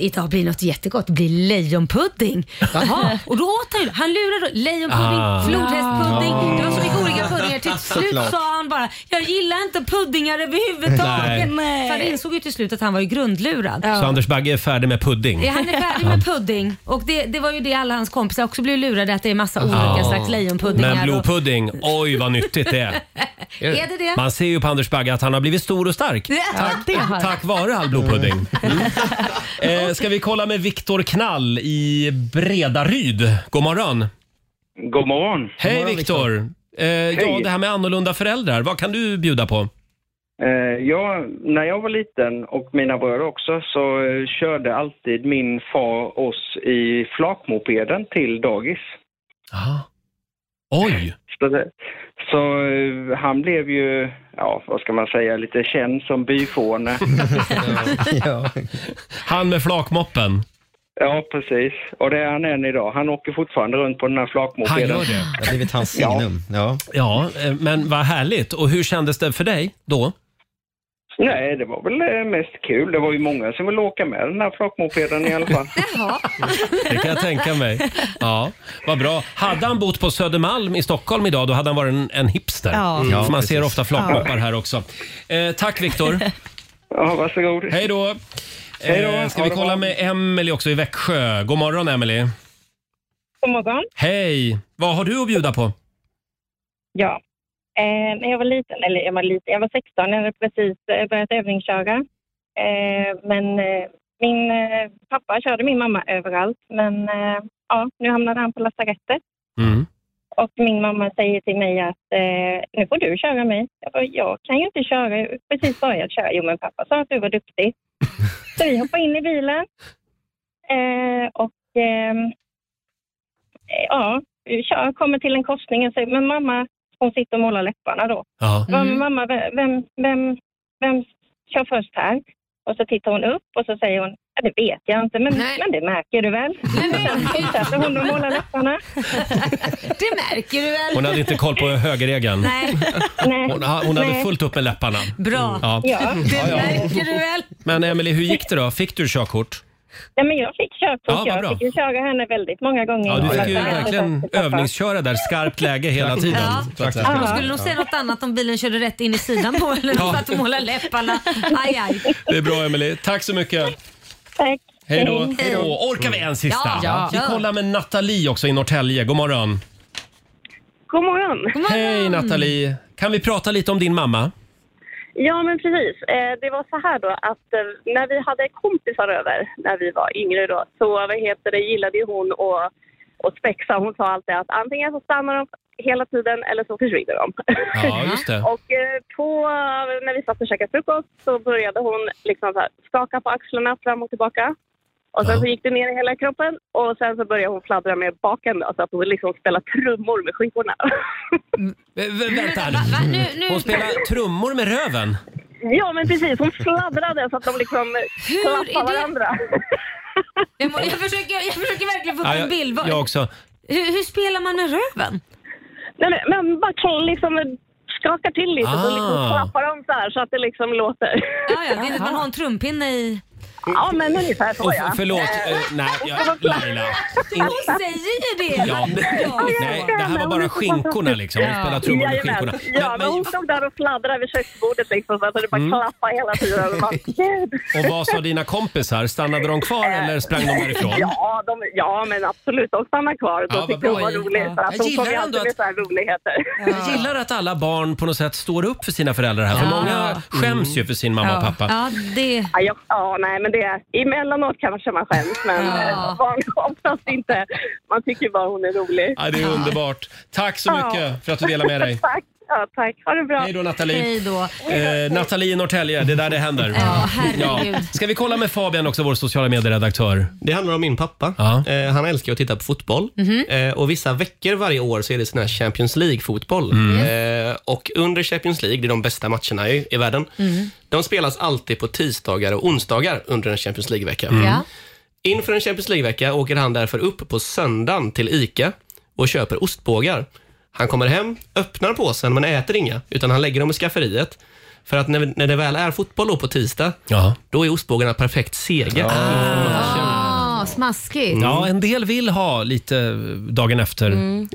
S2: Idag blir något jättegott, det blir lejonpudding. Jaha, [laughs] och då åt han ju. Han lurade då. lejonpudding,
S13: Ah.
S2: flodhästpudding.
S13: Ah.
S2: Det var så mycket olika puddingar. Till slut
S13: Såklart.
S2: sa han bara, jag gillar inte puddingar överhuvudtaget.
S13: Nej.
S2: För han insåg ju till slut att han var ju grundlurad.
S1: Så Anders Bagge är färdig med pudding?
S2: Ja, han är färdig med pudding och det, det var ju det alla hans kompisar också blev lurade att det är massa olika
S1: Ja.
S2: slags lejonpuddingar.
S1: Men
S2: och-
S1: blodpudding, oj vad nyttigt det är.
S2: [laughs] Är det det?
S1: Man ser ju på Anders Bagge att han har blivit stor och stark.
S2: Ja, det har han.
S1: tack vare all blodpudding.
S2: [laughs]
S1: Mm. Eh, ska vi kolla med Viktor Knall i Bredaryd. God morgon.
S18: God morgon.
S1: Hej
S18: God morgon,
S1: Viktor. Eh, ja,
S18: Hej.
S1: det här med annorlunda föräldrar. Vad kan du bjuda [laughs] på?
S18: Eh, jag, när jag var liten och mina bröder också så eh, körde alltid min far oss i flakmopeden till dagis.
S1: Oj!
S18: Så, det, så eh, han blev ju, ja vad ska man säga, lite känd som
S1: [laughs]
S18: byfåne.
S1: Han med flakmoppen.
S18: ja, precis. Och det är han än idag. Han åker fortfarande runt på den här flakmopeden.
S1: Han gör det. Det har blivit hans signum. Ja. ja, eh, men vad härligt. Och hur kändes det för dig då?
S18: Nej, det var väl eh, mest kul. Det var ju många som ville åka med den här flakmopeden i alla fall.
S1: Det kan jag tänka mig. Ja, vad bra. Hade han bott på Södermalm i Stockholm idag, då hade han varit en, en hipster.
S18: Ja.
S1: Mm. För man
S18: Ja,
S1: ser
S18: precis.
S1: ofta flakmoppar
S2: [laughs]
S18: Ja.
S1: här också. Eh, tack Viktor.
S18: Ja, varsågod.
S1: Hej då.
S18: Hej då.
S1: Eh, ska
S18: Ha
S1: vi
S18: det
S1: kolla
S18: bra.
S1: med Emelie också i Växjö. God morgon Emelie.
S19: God morgon.
S1: Hej! Vad har du att bjuda på?
S19: Ja. Eh, när jag var liten, eller jag var liten, jag var 16 när jag precis eh, börjat övningsköra. Eh, men eh, min eh, pappa körde min mamma överallt, men eh, ja, nu hamnade han på lasarettet.
S1: Mm.
S19: Och min mamma säger till mig att eh, nu får du köra mig. Jag bara, jag kan ju inte köra, jag har precis börjat köra. Jo, men pappa sa att du var
S1: [laughs]
S19: duktig. Så vi hoppade in i bilen. Eh, och ehm, eh, ja, vi kör, kommer till en korsning och säger, men mamma, hon sitter och målar läpparna då.
S1: Ja.
S19: Ja,
S2: Mm.
S19: men Mamma, vem, vem, vem, vem kör först här? Och så tittar hon upp och så säger hon, ja, det vet jag inte, men, men det märker du väl? Och sen fortsätter hon att måla
S1: [laughs]
S19: läpparna.
S2: Det märker du väl?
S1: Hon hade inte koll på högerregeln.
S2: Nej.
S1: Hon, ha- hon hade
S2: Nej.
S1: fullt upp med läpparna.
S2: Bra.
S1: Ja.
S2: Det
S1: Ja, ja.
S2: märker du väl?
S1: Men Emelie, hur gick det då? Fick du körkort?
S19: Nej, men jag fick körkort.
S1: Ja, vad
S19: jag
S1: bra.
S19: fick ju köra henne väldigt många gånger.
S1: Ja, du fick ju
S19: Jag har
S1: verkligen
S19: sagt till pappa.
S1: övningsköra där, skarpt läge hela tiden.
S2: Ja.
S1: Så att säga.
S2: Hon skulle nog säga något annat om bilen körde rätt in i sidan på eller
S1: Ja.
S2: något för att måla läpparna. Aj, aj.
S1: Det är bra Emelie. Tack så mycket.
S19: Tack.
S1: Hej då.
S2: Hej.
S1: Hej då. Orkar vi en sista?
S2: Ja, ja.
S1: Vi kollar med Nathalie också i Norrtälje. God morgon.
S20: God morgon.
S1: Hej Nathalie. Kan vi prata lite om din mamma?
S20: Ja, men precis. Eh, Det var så här då att eh, när vi hade kompisar över när vi var yngre då, så vad heter det, gillade ju hon att att spexa. Hon sa alltid att antingen så stannar de hela tiden eller så försvinner de.
S1: Ja, just det.
S20: [laughs] och eh, på, när vi satt och käkade frukost så började hon liksom så här, skaka på axlarna fram och tillbaka. Och sen så gick det ner i hela kroppen och sen så började hon fladdra med baken då, så att hon liksom spelade trummor med skivorna. [laughs]
S2: Mm,
S1: vänta här Hon spelar trummor med röven.
S20: Ja, men precis. Hon fladdrade så att de liksom klappade varandra.
S2: [laughs] Jag, må, jag, försöker, jag försöker verkligen få upp
S1: Ja,
S2: en bild.
S1: jag,
S2: Vad-
S1: jag också.
S2: Hur, hur spelar man med röven?
S20: Nej, men, men bara kan liksom skaka till lite
S1: Ah.
S20: så liksom klappar de så här så att det liksom låter.
S2: Ja, ja, det är att man har en trumpinne i...
S20: Ja, men ungefär
S1: Och för, förlåt, eh, nej, jag, Laila.
S2: [laughs] Hon säger det!
S1: Ja, men, nej, det här var bara skinkorna liksom. Hon spelar trummor med
S20: Jajamän.
S1: skinkorna.
S20: Ja, men hon stod där och fladdrade vid köksbordet liksom så att det bara
S1: Mm.
S20: klappade hela tiden. Och man, Gud.
S1: Och vad sa dina kompisar? Stannade de kvar eller sprang de därifrån?
S20: Eh, Ja, de, ja, men absolut. De stannar kvar. De
S1: Ja, vad
S20: tyckte hon
S1: bra.
S20: var rolig.
S1: Ja.
S20: Så att
S1: Jag
S20: hon
S1: gillar
S20: kom ju
S1: ändå
S20: alltid med
S1: att-
S20: så här roligheter.
S1: Jag gillar att alla barn på något sätt står upp för sina föräldrar här. För
S20: Ja.
S1: många skäms ju för sin mamma och pappa.
S2: det...
S20: Ja, jag, ja, nej, men det... Emellanåt kanske man skäms, men ja. [laughs] oftast inte. Man tycker bara hon är rolig.
S1: Ja, det är underbart. Tack så
S20: Ja.
S1: mycket för att du delar med dig.
S20: [laughs] tack. Ja, tack. Ha det bra.
S1: Hej då, Nathalie. Hej
S2: då.
S1: Eh, Nathalie i Norrtälje, det är där det händer.
S2: Ja, herregud.
S1: Ska vi kolla med Fabian också, vår sociala medieredaktör?
S2: Mm.
S8: Det handlar om min pappa. Eh, han älskar ju att titta på fotboll.
S2: Mhm.
S8: Eh, och Vissa veckor varje år så är det sån här Champions League-fotboll. Eh, och Under Champions League, det är de bästa matcherna i, i världen,
S14: Mm.
S8: de spelas alltid på tisdagar och onsdagar under en Champions League-vecka.
S1: Mm.
S14: Ja.
S8: Inför en Champions League-vecka åker han därför upp på söndagen till ICA och köper ostbågar. Han kommer hem, öppnar påsen men äter inga, utan han lägger dem i skafferiet. För att när, när det väl är fotboll då på tisdag, då är ostbågarna perfekt sega.
S2: Ah, smaskigt.
S1: Ja, en del vill ha lite eh, dagen efter
S2: Mm.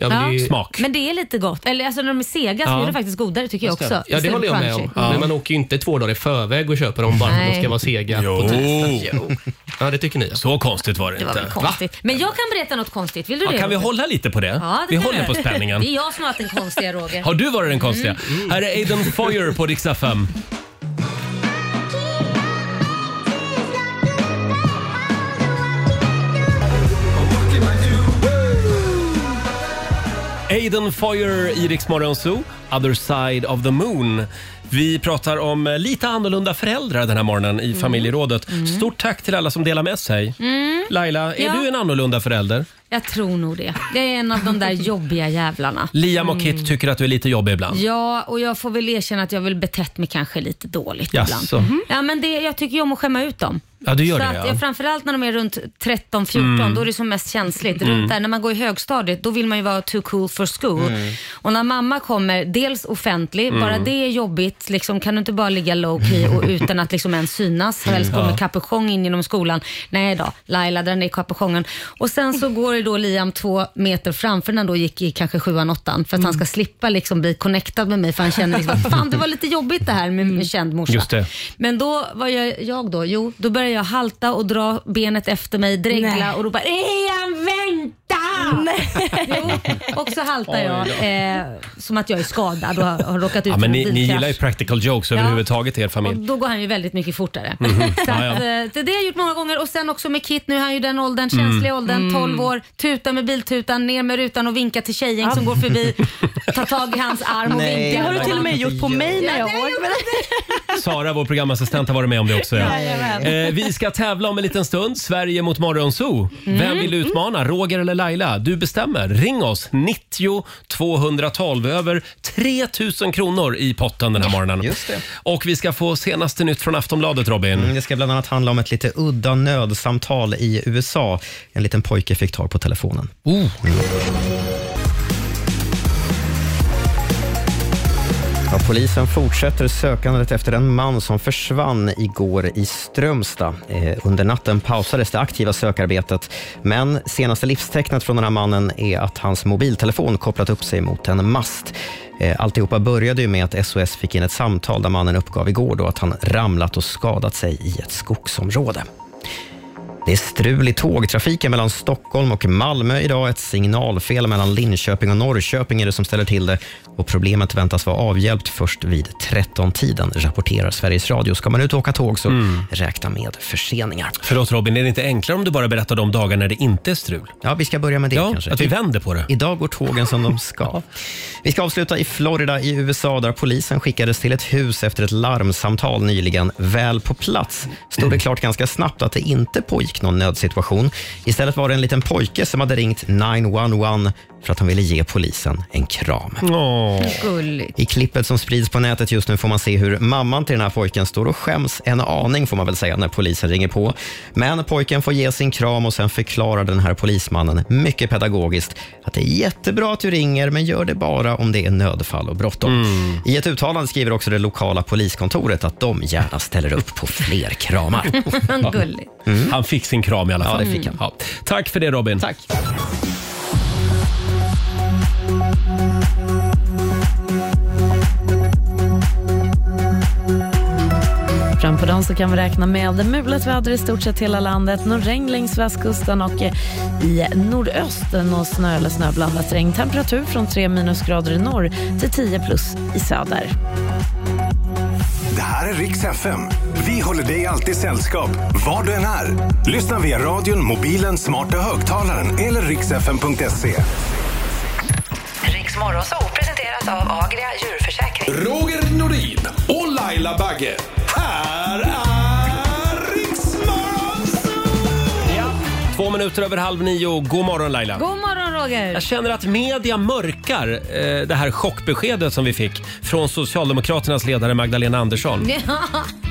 S1: smak.
S2: Men det är lite gott. Eller alltså när de är sega så
S8: Ja.
S2: är det faktiskt godare tycker jag
S8: Just
S2: också.
S8: Ja, det
S2: Istället
S8: håller jag
S2: för
S8: med om.
S2: crunchy.
S8: Men man åker ju inte två dagar i förväg och köper dem bara för att de
S2: Nej.
S8: ska vara sega på tisdag. Jo. Ja, det tycker ni.
S1: Så konstigt var det,
S2: Det var
S1: inte.
S2: väl konstigt. Men jag kan berätta något konstigt. Vill du
S1: Ja,
S2: det?
S1: kan vi
S2: Roger?
S1: hålla lite på det?
S2: Ja, det
S1: vi
S2: kan
S1: håller
S2: jag.
S1: på
S2: [laughs]
S1: spänningen.
S2: Det är jag som har varit den konstiga Roger.
S1: Har du varit den konstiga?
S2: Mm.
S1: Här är Aiden Foyer på Dix FM. Aiden Foyer i Rix Morgon Zoo, Other Side of the Moon. Vi pratar om eh, lite annorlunda föräldrar den här morgonen i familjerådet. Stort tack till alla som delar med sig.
S2: Mm.
S1: Laila, är
S2: Ja.
S1: du en annorlunda förälder?
S2: Jag tror nog det. Jag är en av de där jobbiga jävlarna.
S1: Liam och
S2: Mm.
S1: Kit tycker att du är lite jobbig ibland.
S2: Ja, och jag får väl erkänna att jag väl betett mig kanske lite dåligt
S1: Jaså? Mm.
S2: ibland. Ja, men det, jag tycker ju om att skämma ut dem.
S1: Ja, du gör
S2: så
S1: det,
S2: att,
S1: ja.
S2: jag- Framförallt när de är runt 13-14,
S1: Mm.
S2: då är det som mest känsligt.
S1: Mm.
S2: Runt där, när man går i högstadiet, då vill man ju vara too cool for school.
S1: Mm.
S2: Och när mamma kommer, dels offentlig,
S1: Mm.
S2: bara det är jobbigt. shit, liksom, kan du inte bara ligga low key
S1: [laughs]
S2: och utan att liksom ens synas?
S13: Mm.
S2: Helst gå med
S13: Ja.
S2: kapuschong in genom skolan. Nej då, Laila drar ner kapuschongen. Och sen så går ju då Liam två meter framför när han då gick i kanske sjuan, åttan för att han ska
S1: Mm.
S2: slippa liksom bli connectad med mig för han känner
S1: [laughs]
S2: liksom att fan det var lite jobbigt det här med en känd morsa.
S1: Mm. Just det.
S2: Men då, vad gör jag då? Jo, då börjar jag halta och dra benet efter mig, dregla
S13: Nej.
S2: och ropa Ian vänta! Jo, och så haltar jag
S1: [laughs] Oj då.
S2: eh, som att jag är skadad och har, har råkat ut
S1: Ja,
S2: för
S1: men
S2: en
S1: ni, ni
S2: bilkrasch.
S1: gillar ju practical jokes
S2: Ja.
S1: överhuvudtaget i er
S2: och [laughs]
S1: familj.
S2: då går han ju väldigt mycket fortare.
S1: Mhm.
S2: [laughs] Så
S1: Ja,
S2: att,
S1: ja.
S2: eh, det, det har jag gjort många gånger och sen också med Kit, nu är han ju den åldern,
S1: Mm.
S2: känsliga åldern,
S1: Mm.
S2: 12 år, tuta med biltutan, ner med rutan och vinka till tjejgäng som går
S1: [laughs]
S2: förbi, ta tag i hans arm och
S1: Ah. Nej,
S2: vinka.
S1: det har du till och
S2: [laughs]
S7: med gjort på mig när jag
S2: åkte med
S1: Sara, vår programassistent, har varit med om det också. Ja.
S2: Jajamän.
S1: Eh, vi ska tävla om en liten stund. Sverige mot Morgonzoo.
S13: Mm.
S1: Vem vill du utmana? Roger eller Laila? Du bestämmer. Ring oss. 90 212. Över 3 000 kronor i potten den här morgonen. Just det. Och vi ska få senaste nytt från Aftonbladet, Robin.
S3: Mm, Det ska bland annat handla om ett lite udda nödsamtal i USA. En liten pojke fick tag på telefonen.
S1: Oh.
S3: Ja, polisen fortsätter sökandet efter en man som försvann igår i Strömstad. Eh, under natten pausades det aktiva sökarbetet, men senaste livstecknet från den här mannen är att hans mobiltelefon kopplat upp sig mot en mast. Eh, alltihopa började ju med att SOS fick in ett samtal där mannen uppgav igår då att han ramlat och skadat sig i ett skogsområde. Det är strul i tågtrafiken mellan Stockholm och Malmö idag. Ett signalfel mellan Linköping och Norrköping är det som ställer till det. Och Problemet väntas vara avhjälpt först vid 13-tiden, rapporterar Sveriges Radio. Ska man ut och åka tåg så räkna med förseningar.
S1: Förlåt Robin, är det inte enklare om du bara berättar de dagar när det inte är strul?
S3: Ja, vi ska börja med det
S1: ja,
S3: kanske.
S1: att vi vänder på det.
S3: Idag går tågen som de ska. Vi ska avsluta i Florida i USA där polisen skickades till ett hus efter ett larmsamtal nyligen. Väl på plats stod det klart ganska snabbt att det inte pågick någon nödsituation. Istället var det en liten pojke som hade ringt 911 för att han ville ge polisen en kram.
S2: Gulligt.
S3: I klippet som sprids på nätet just nu får man se hur mamman till den här pojken står och skäms en aning får man väl säga när polisen ringer på. Men pojken får ge sin kram och sen förklarar den här polismannen mycket pedagogiskt att det är jättebra att du ringer men gör det bara om det är nödfall och bråttom. I ett uttalande skriver också det lokala poliskontoret att de gärna ställer upp på fler kramar.
S2: [laughs] Gulligt.
S1: Han fick sin kram i alla
S3: Mm. Ja, det
S1: fall.
S3: fick han.
S1: Ja. Tack för det Robin. Tack.
S21: Fram på dagen så kan vi räkna med mulet väder i stort sett hela landet. Någon regn längs västkusten och eh, i nordösten och snö eller snöblandat regn. Temperatur från 3 minusgrader i norr till 10 plus i söder.
S10: Det här är Rix FM. Vi håller dig alltid sällskap, var du än är. Lyssna via radion, mobilen, smarta högtalaren eller rixfm.se.
S22: Riks Morgonzoo presenteras av Agria djurförsäkring.
S10: Roger Norin och Laila Bagge. Här är
S1: Två minuter över halv nio. God morgon Laila.
S2: God morgon Roger. [laughs]
S1: Jag känner att media mörkar eh, det här chockbeskedet som vi fick från Socialdemokraternas ledare Magdalena Andersson.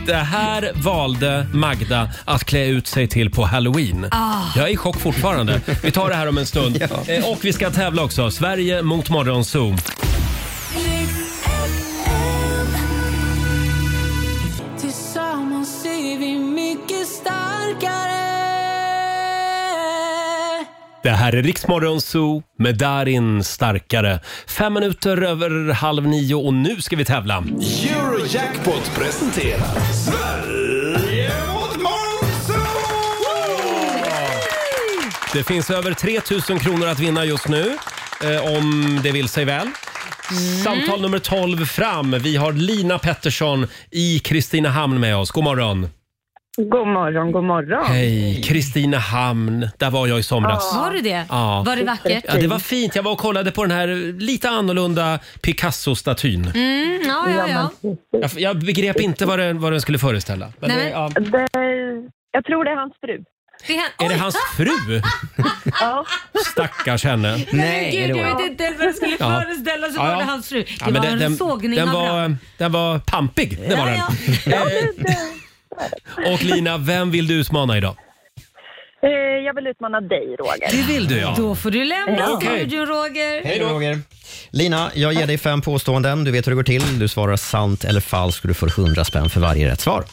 S1: Det här valde Magda att klä ut sig till på Halloween.
S13: Ah.
S1: Jag är i chock fortfarande. Vi tar det här om en stund. Eh, Och vi ska tävla också. Sverige mot Morgonzoo.
S15: Tillsammans är vi mycket starkare.
S1: Det här är Riksmorgon Zoo med Darin Starkare. Fem minuter över halv nio och nu ska vi tävla.
S10: Eurojackpot presenterar Sverige mot
S1: Det finns över 3 000 kronor att vinna just nu, eh, om det vill sig väl.
S2: Mm.
S1: Samtal nummer 12 fram. Vi har Lina Pettersson i Kristinehamn med oss. God morgon.
S23: God morgon, god morgon.
S1: Hej, Kristinehamn. Där var jag i somras.
S2: Var du det?
S1: Ja.
S2: Var det vackert?
S1: Ja, det var fint. Jag var och kollade på den här lite annorlunda Picasso-statyn.
S2: Mm, ja, ja, ja.
S1: Jag, jag begrep inte vad den, vad den skulle föreställa. Men
S23: Nej,
S1: det, ja.
S23: Det, jag tror det är hans fru.
S1: Är det hans fru?
S23: Ja.
S1: Stackars henne.
S2: Gud, jag vet inte ens vad det skulle [laughs]
S1: Ja.
S2: föreställa sig
S1: Ja,
S2: var
S1: ja.
S2: det hans fru. Det
S1: Ja, men
S2: var
S1: den-
S2: en
S1: den-
S2: sågning
S1: den
S2: av
S1: var,
S2: den.
S1: den var pampig, det var
S2: Ja,
S1: [laughs] den. Eh, Och Lina, vem vill du utmana idag?
S23: Eh, Jag vill utmana dig, Roger.
S1: Det vill du, ja.
S2: Då får du lämna
S23: Ja.
S2: studion Roger.
S3: Hej då, Roger. Lina, jag ger dig fem påståenden. Du vet hur det går till. Du svarar sant eller falskt och du får 100 spänn för varje rätt svar.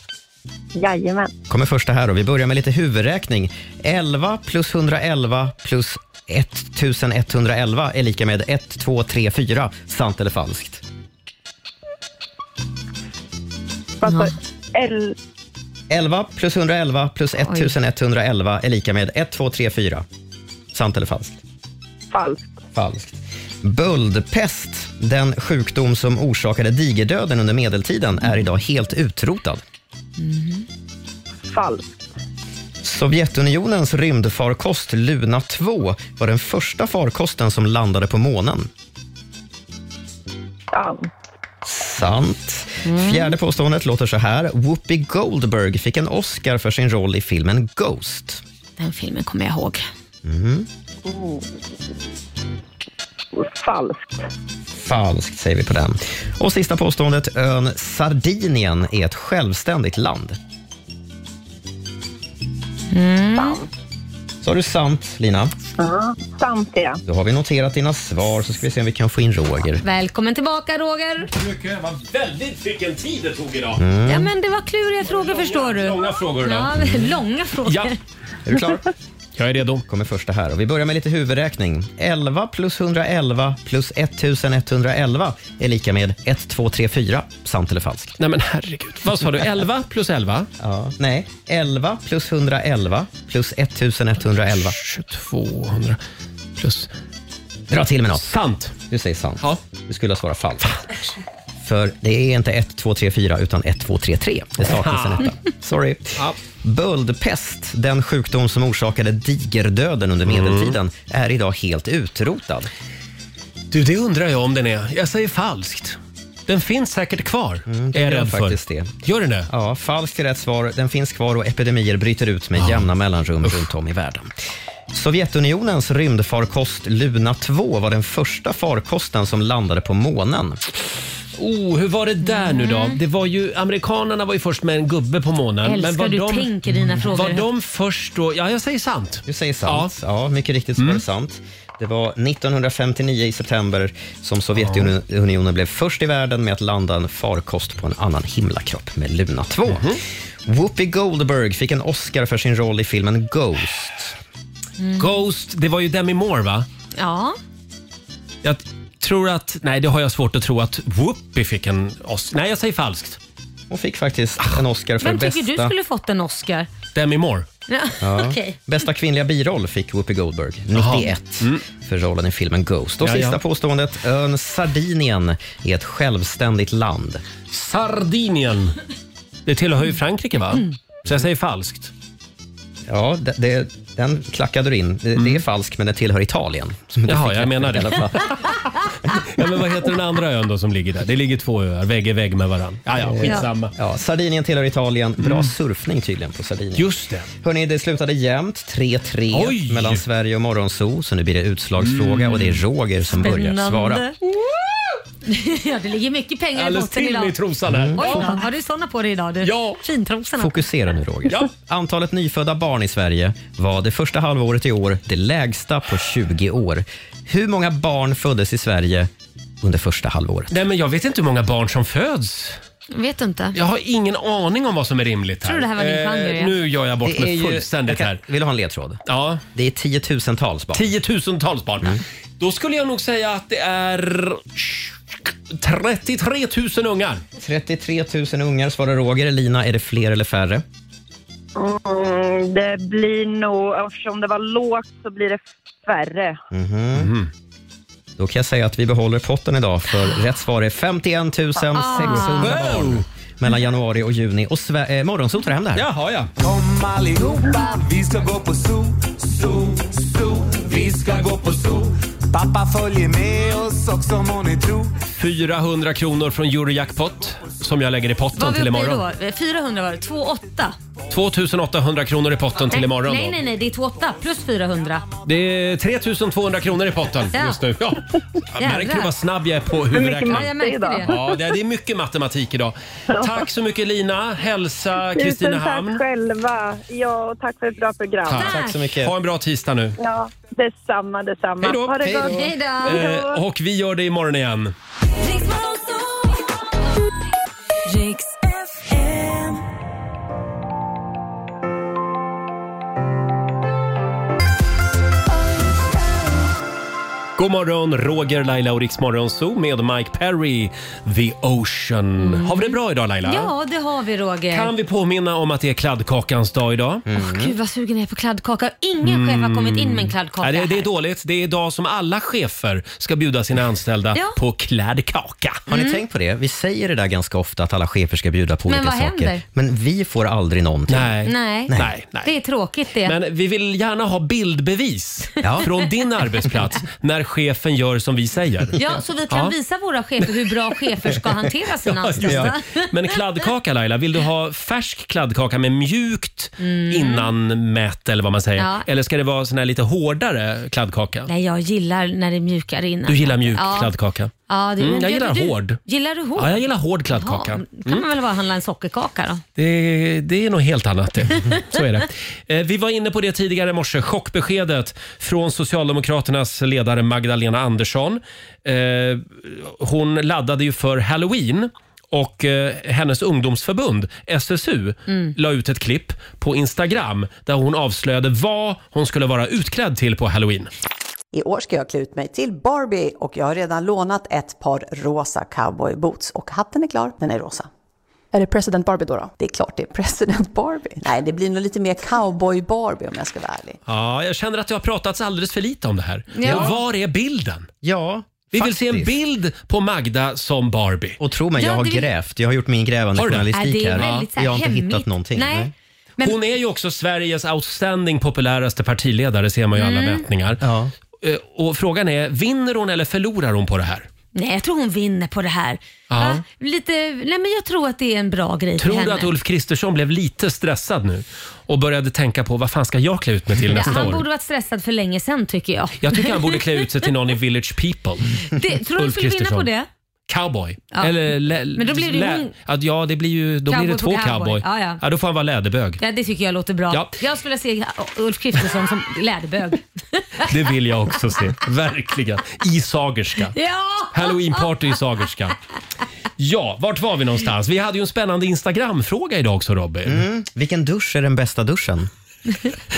S23: Jajamän.
S3: Kommer första här och vi börjar med lite huvudräkning. 11 plus 111 plus 1111 är lika med 1, 2, 3, 4. Sant eller falskt?
S23: Vad sa L...
S3: 11 plus 111 plus 1111 är lika med 1, 2, 3, 4. Sant eller falskt?
S23: Falskt.
S3: Falskt. Böldpest, den sjukdom som orsakade digerdöden under medeltiden, är idag helt utrotad.
S23: Mm-hmm. Falskt.
S3: Sovjetunionens rymdfarkost Luna 2 var den första farkosten som landade på månen.
S23: Sant.
S3: Sant. Fjärde påståendet låter så här. Whoopi Goldberg fick en Oscar för sin roll i filmen Ghost.
S2: Den filmen kommer jag ihåg.
S3: Mm.
S23: Oh. Falskt.
S3: Falskt säger vi på den. Och sista påståendet. Ön Sardinien är ett självständigt land.
S2: Mm.
S23: Sant.
S3: Sa du sant, Lina?
S23: Ja, sant ja.
S3: Då har vi noterat dina svar, så ska vi se om vi kan få in Roger.
S2: Välkommen tillbaka Roger.
S1: mycket. Vad väldigt vilken tid det tog idag.
S3: Mm.
S2: Ja men det var kluriga frågor förstår du.
S1: Långa frågor idag.
S2: Ja, långa frågor.
S1: Mm. Ja.
S3: Är du
S1: [laughs]
S3: klar? Jag är redo. kommer första här. Och vi börjar med lite huvudräkning. 11 plus 111 plus 1111 är lika med 1, 2, 3, 4. Sant eller falskt?
S1: Nej men herregud. Vad sa du? 11 plus 11?
S3: Ja. Nej, 11 plus 111 plus 1111.
S1: 2200 plus...
S3: Dra till med något.
S1: Sant.
S3: Du säger sant. Ja. Du skulle ha svarat falskt. För det är inte 1, 2, 3, 4 utan 1, 2, 3, 3. Det saknas en etta. Sorry. Böldpest, den sjukdom som orsakade digerdöden under medeltiden, är idag helt utrotad.
S1: Mm. Du, det undrar jag om den är. Jag säger falskt. Den finns säkert kvar. är jag
S3: gör
S1: rädd
S3: den
S1: för.
S3: faktiskt Mm, det.
S1: Gör den det?
S3: Ja, falskt är rätt svar. Den finns kvar och epidemier bryter ut med jämna mellanrum runt om i världen. Sovjetunionens rymdfarkost Luna 2 var den första farkosten som landade på månen.
S1: Oh, hur var det där nu då?
S2: Mm.
S1: Det var ju, amerikanerna var ju först med en gubbe på månen.
S2: Älskar
S1: var
S2: du
S1: de,
S2: tänker dina frågor.
S1: Var de först då? Ja, jag säger sant.
S3: Du säger sant. Ja, mycket riktigt så
S1: Mm.
S3: var det sant. Det var 1959 i september som Sovjetunionen blev först i världen med att landa en farkost på en annan himlakropp med Luna 2.
S1: Mhm.
S3: Whoopi Goldberg fick en Oscar för sin roll i filmen Ghost.
S2: Mm.
S1: Ghost, det var ju Demi Moore va?
S2: Ja.
S1: Jag tror att, nej det har jag svårt att tro att Whoopi fick en Oscar. Nej, jag säger falskt. Ah.
S3: Hon fick faktiskt en Oscar
S2: Vem tycker du skulle fått en Oscar?
S1: Demi Moore.
S2: Ja, [laughs]
S3: Ja.
S2: okej.
S3: Bästa kvinnliga biroll fick Whoopi Goldberg, 91, för rollen i filmen Ghost. Och
S1: Mm. Ja,
S3: sista
S1: ja.
S3: påståendet, ön Sardinien är ett självständigt land.
S1: Sardinien. Det tillhör ju Frankrike va? Så jag säger falskt.
S3: Ja, det, det, den klackade du in. Det, det är falskt, men det tillhör Italien. Som du
S1: Mm. Jaha,
S3: fick
S1: jag menar det.
S3: rätt i alla fall.
S1: [laughs] ja, men vad heter den andra ön då som ligger där? Det ligger två öar vägg i vägg med varandra. Ja, ja, skitsamma. Mm.
S3: Ja, Sardinien tillhör Italien. Bra surfning tydligen på Sardinien.
S1: Just det.
S3: Hörrni, det slutade jämnt, 3-3
S1: Oj!
S3: mellan Sverige och Morgonzoo. Så nu blir det utslagsfråga och det är Roger som börjar svara.
S2: Mm. Spännande. [laughs] ja, det ligger mycket pengar i
S3: Alldeles
S2: botten
S3: till
S2: idag.
S3: i trosan här.
S2: Oj, då,
S3: Ja.
S2: har du såna på dig idag? Du? Ja. Fintrosorna.
S3: Fokusera nu Roger. Antalet nyfödda barn i Sverige var det första halvåret i år det lägsta på 20 år. Hur många barn föddes i Sverige under första halvåret?
S1: Nej, men jag vet inte hur många barn som föds.
S2: Vet du inte?
S1: Jag har ingen aning om vad som är rimligt här. Eh,
S2: Tror du det här var din genre, ja?
S1: Nu gör jag bort
S3: Det är
S1: mig
S3: ju-
S1: fullständigt
S3: jag kan-
S1: här.
S3: Vill du ha en ledtråd?
S1: Ja.
S3: Det är tiotusentals barn. Mm.
S1: Tiotusentals barn. Då skulle jag nog säga att det är 33 000 ungar.
S3: 33 000 ungar svarar Roger. Lina, är det fler eller färre?
S23: Mm, det blir nog, eftersom det var lågt så blir det färre.
S3: Mhm. Då kan jag säga att vi behåller potten idag för rätt svar är 51 600
S2: Ah.
S3: barn mellan januari och juni. Och Sve- eh, Morgonzoo tar hem det här.
S1: Jaha, ja.
S5: Kom allihopa, vi ska gå på zoo, zoo, zoo. Vi ska gå på zoo. Pappa följer med oss också må ni tro.
S1: 400 kronor från Eurojackpot. som jag lägger i potten
S2: Vad
S1: till
S2: vi uppe i
S1: imorgon.
S2: då? 400 var det. 28.
S1: 2800 kronor i potten till imorgon
S2: Nej,
S1: då.
S2: nej, nej. Det är 28 plus 400.
S1: Det är 3200 kronor i potten
S2: Ja.
S1: just nu.
S2: [laughs]
S1: Ja. Jag
S2: Jävlar.
S1: märker du vad snabb jag är på
S2: mycket
S1: huvudräkning?
S2: matte Ja, jag märkte idag. det.
S1: Ja, det det är mycket matematik idag. Tack så mycket Lina. Hälsa Kristinehamn.
S23: Tusen tack själva. Ja, och tack för ett bra program.
S1: mycket. Ha en bra tisdag nu.
S23: Ja, detsamma, detsamma.
S1: Hej då.
S23: Ha det gott.
S1: Eh, och vi gör det imorgon igen. God morgon, Roger, Laila och Riksmorgon Zoo med Mike Perry, The Ocean. Har vi det bra idag Laila?
S2: Ja, det har vi Roger.
S1: Kan vi påminna om att det är kladdkakans dag idag?
S2: Gud vad sugen jag är på kladdkaka. Ingen chef har kommit in med en kladdkaka.
S1: Mm. Ja, det, det är
S2: här.
S1: dåligt. Det är idag som alla chefer ska bjuda sina anställda
S2: Ja.
S1: på kladdkaka.
S3: Har ni tänkt på det? Vi säger det där ganska ofta att alla chefer ska bjuda på
S2: Mm. Men
S3: olika
S2: vad
S3: saker.
S2: händer?
S3: Men vi får aldrig någonting.
S2: Nej.
S3: Nej.
S2: det är tråkigt det.
S1: Men vi vill gärna ha bildbevis
S2: Ja.
S1: från din arbetsplats när chefen gör som vi säger.
S2: Ja, så vi kan
S1: Ja.
S2: visa våra chefer hur bra chefer ska hantera sina
S1: [laughs] Ja, just
S2: anställda.
S1: det. Men kladdkaka Laila, vill du ha färsk kladdkaka med mjukt
S2: Mm.
S1: innan mät eller vad man säger?
S2: Ja.
S1: Eller ska det vara sån här lite hårdare kladdkaka?
S2: Nej, jag gillar när det mjukar in.
S1: Du gillar mjuk
S2: ja.
S1: kladdkaka?
S2: Ja, det,
S1: Mm, jag
S2: gör
S1: gillar
S2: du.
S1: hård.
S2: Gillar du hård?
S1: Ja, jag gillar hård kladdkaka.
S2: Jaha, kan
S1: Mm.
S2: man väl bara handla en sockerkaka då?
S1: Det, det är något helt annat det. Mm,
S2: [laughs]
S1: Så är det. Eh, Vi var inne på det tidigare i morse, chockbeskedet från Socialdemokraternas ledare Magdalena Andersson. Eh, Hon laddade ju för Halloween och eh, hennes ungdomsförbund SSU
S2: Mm.
S1: la ut ett klipp på Instagram där hon avslöjade vad hon skulle vara utklädd till på Halloween.
S9: I år ska jag klä ut mig till Barbie och jag har redan lånat ett par rosa cowboyboots och hatten är klar, den är rosa. Är det president Barbie då? Det är klart det är president Barbie. Nej, det blir nog lite mer cowboy Barbie om jag ska vara ärlig.
S1: Ja, jag känner att det har pratats alldeles för lite om det här.
S9: Ja.
S1: Och var är bilden?
S3: Ja,
S1: Vi vill se en bild på Magda som Barbie.
S3: Och tro mig,
S1: Ja,
S3: jag har
S1: det vill-
S3: grävt. Jag har gjort min grävande
S1: Har du det?
S3: journalistik
S1: Ja, det är
S3: här.
S1: väldigt så här
S3: jag har inte
S1: hemligt.
S3: hittat någonting.
S1: Nej. Hon är ju också Sveriges outstanding populäraste partiledare ser man ju i alla
S2: Mm.
S1: mätningar. Eh, Och frågan är, vinner hon eller förlorar hon på det här?
S2: Nej, jag tror hon vinner på det här.
S1: Ja.
S2: Va? Lite, nej men jag tror att det är en bra grej för
S1: Tror
S2: henne.
S1: du att Ulf Kristersson blev lite stressad nu och började tänka på vad fan ska jag klä ut mig till
S2: Ja,
S1: nästa
S2: han
S1: år?
S2: borde varit stressad för länge sedan tycker jag.
S1: Jag tycker han borde klä ut sig till någon i Village People.
S2: [laughs] det, tror du hon
S1: Ulf
S2: skulle vinna på
S1: Kristersson.
S2: det?
S1: Cowboy.
S2: Ja.
S1: Eller lä-
S2: Men då blir det ju
S1: lä-
S2: hon-
S1: att, Ja, det blir ju då blir
S2: Cowboy
S1: det
S2: på
S1: två
S2: cowboy.
S1: cowboy.
S2: Ja, ja.
S1: då får han vara läderbög.
S2: Ja, det tycker jag låter bra.
S1: Ja.
S2: Jag skulle vilja se Ulf Kristersson som
S1: [laughs]
S2: läderbög. [laughs]
S1: Det vill jag också se. Verkligen. I Sagerska.
S2: Ja!
S1: Halloweenparty i Sagerska. Ja, vart var vi någonstans? Vi hade ju en spännande Instagram-fråga idag också Robin.
S3: Mm. Vilken dusch är den bästa duschen?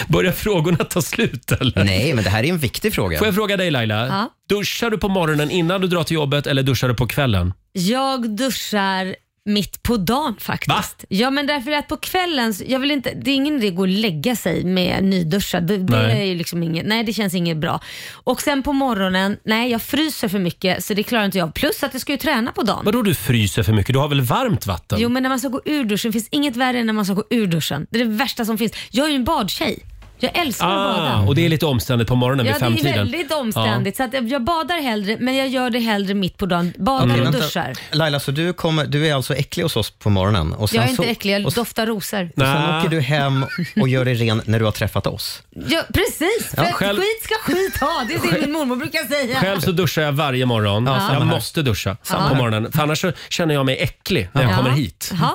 S1: Börjar frågorna ta slut eller?
S3: Nej, men det här är en viktig fråga.
S1: Får jag fråga dig Laila?
S2: Ja.
S1: Duschar du på morgonen innan du drar till jobbet eller duschar du på kvällen?
S2: Jag duschar mitt på dagen faktiskt. Ja men därför att på kvällen, så- jag vill inte, det är ingen idé att gå och lägga sig med nyduschad. Det, det
S23: Nej.
S2: är ju liksom inget, nej det känns inget bra. Och sen på morgonen, nej jag fryser för mycket så det klarar inte jag. Plus att jag ska ju träna på dagen.
S1: Vadå du fryser för mycket? Du har väl varmt vatten?
S2: Jo men när man ska gå ur duschen, finns inget värre än när man ska gå ur duschen. Det är det värsta som finns. Jag är ju en badtjej. Jag älskar att bada.
S1: ah, och det är lite omständigt på morgonen vid
S2: Ja, det
S1: femtiden.
S2: är väldigt omständigt. Så att jag badar hellre, men jag gör det hellre mitt på dagen.
S3: Okej,
S2: Badar och
S3: vänta.
S2: duschar.
S3: Laila, så du, kommer, du är alltså äcklig hos oss på morgonen? Och sen
S2: Jag är inte
S3: så,
S2: äcklig, jag
S3: och, s-
S2: doftar rosor.
S3: och sen åker du hem och gör dig ren när du har träffat oss.
S2: Ja, precis, för
S1: Ja,
S2: att
S1: själv-
S2: skit ska skit ha. Det är det min mormor brukar säga.
S1: Själv så duschar jag varje morgon.
S2: Ja, samma
S1: jag
S2: här.
S1: måste duscha
S2: Samma här.
S1: på morgonen. För annars så känner jag mig äcklig när jag
S2: Ja.
S1: kommer hit.
S2: Jaha.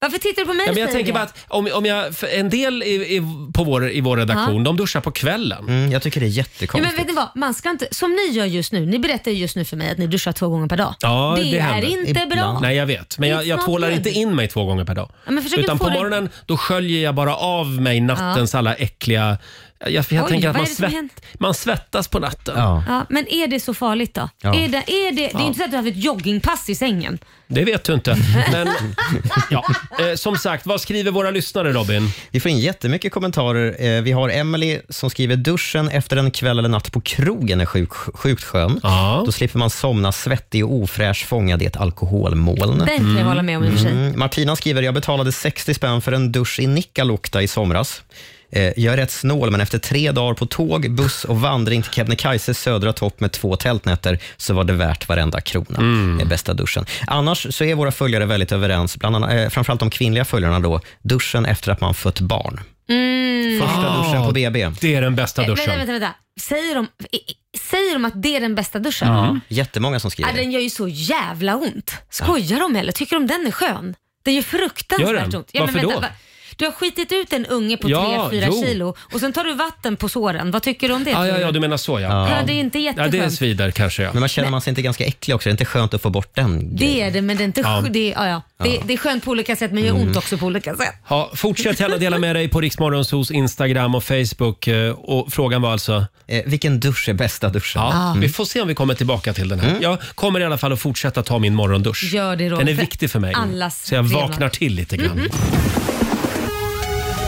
S2: Varför tittar du på mig
S1: Ja, men jag
S2: säger
S1: tänker bara att om, om jag, för en del i, i, på vår, i vår redaktion,
S2: Ja.
S1: de duschar på kvällen.
S3: Mm, jag tycker det är
S2: Ja,
S3: jättekonstigt.
S2: men vet ni vad, man ska inte, som ni gör just nu, ni berättar ju just nu för mig att ni duschar två gånger per dag.
S1: Ja, det,
S2: det, är
S1: händer.
S2: inte bra.
S1: Nej, jag vet. Men jag,
S2: It's
S1: jag
S2: not
S1: tvålar
S2: good.
S1: inte in mig två gånger per dag.
S2: Ja, men försök
S1: Utan
S2: inte
S1: på
S2: få det-
S1: morgonen då sköljer jag bara av mig nattens alla äckliga... Jag, jag
S2: Oj,
S1: tänker
S2: vad
S1: att man,
S2: är det som
S1: svett,
S2: hänt?
S1: man svettas på natten.
S2: Ja, men är det så farligt då?
S1: Ja.
S2: Är det, är det, det är
S1: Ja.
S2: inte så att du har haft ett joggingpass i sängen.
S1: Det vet
S2: [laughs]
S1: du inte. Men ja. eh, som sagt, vad skriver våra lyssnare Robin?
S3: Vi får in jättemycket kommentarer. Eh, Vi har Emily som skriver duschen efter en kväll eller natt på krogen är sjuk, sjukt skön. Då slipper man somna svettig och ofräsch fångad i ett alkoholmoln.
S2: Den kan jag Mm. hålla med om i och för sig.
S3: Martina skriver, jag betalade 60 spänn för en dusch i Nikkaluokta i somras. Eh, Jag är rätt snål, men efter tre dagar på tåg, buss och vandring till Kebnekaises södra topp med två tältnätter så var det värt varenda krona. Mm. Bästa duschen. Annars så är våra följare väldigt överens, bland annat, eh, framförallt de kvinnliga följarna då, duschen efter att man fött barn.
S2: Mm. Eh,
S3: Första duschen på BB.
S1: Det är den bästa
S2: Vänta, vänta, vänta. Säger de, i- i- säger de att det är den bästa duschen?
S3: Jättemånga som skriver
S2: Ja, den gör ju så jävla ont. Skojar de eller? Tycker de den är skön? Den gör fruktansvärt
S1: Gör den?
S2: ont.
S1: Varför då?
S2: va- Du har skitit ut en unge på
S1: Ja,
S2: 3-4
S1: jo.
S2: kilo och sen tar du vatten på såren. Vad tycker du om det?
S1: Ja,
S2: tror
S1: ja,
S2: du?
S1: ja, du menar så ja.
S2: Ja, det är inte jätteskönt.
S1: svider kanske. Ja.
S3: Men man känner man sig inte ganska äcklig också? Det är inte skönt att få bort den
S2: Det är det, men det är inte
S1: Ja.
S2: sj- det, är, ja, ja. Det,
S1: Ja.
S2: det är skönt på olika sätt men gör
S1: Mm.
S2: ont också på olika sätt.
S1: Ja, fortsätt gärna dela med dig på Riksmorgonsos Instagram och Facebook. eh, Och frågan var alltså?
S3: Eh, vilken dusch är bästa duschen? Mm.
S1: Ja,
S2: Ah.
S1: Vi får se om vi kommer tillbaka till den här. Jag kommer i alla fall att fortsätta ta min morgondusch.
S2: Gör det, Roger.
S1: Den är viktig för mig.
S2: Allas
S1: så jag
S2: trevnad.
S1: vaknar till lite grann.
S2: Mm.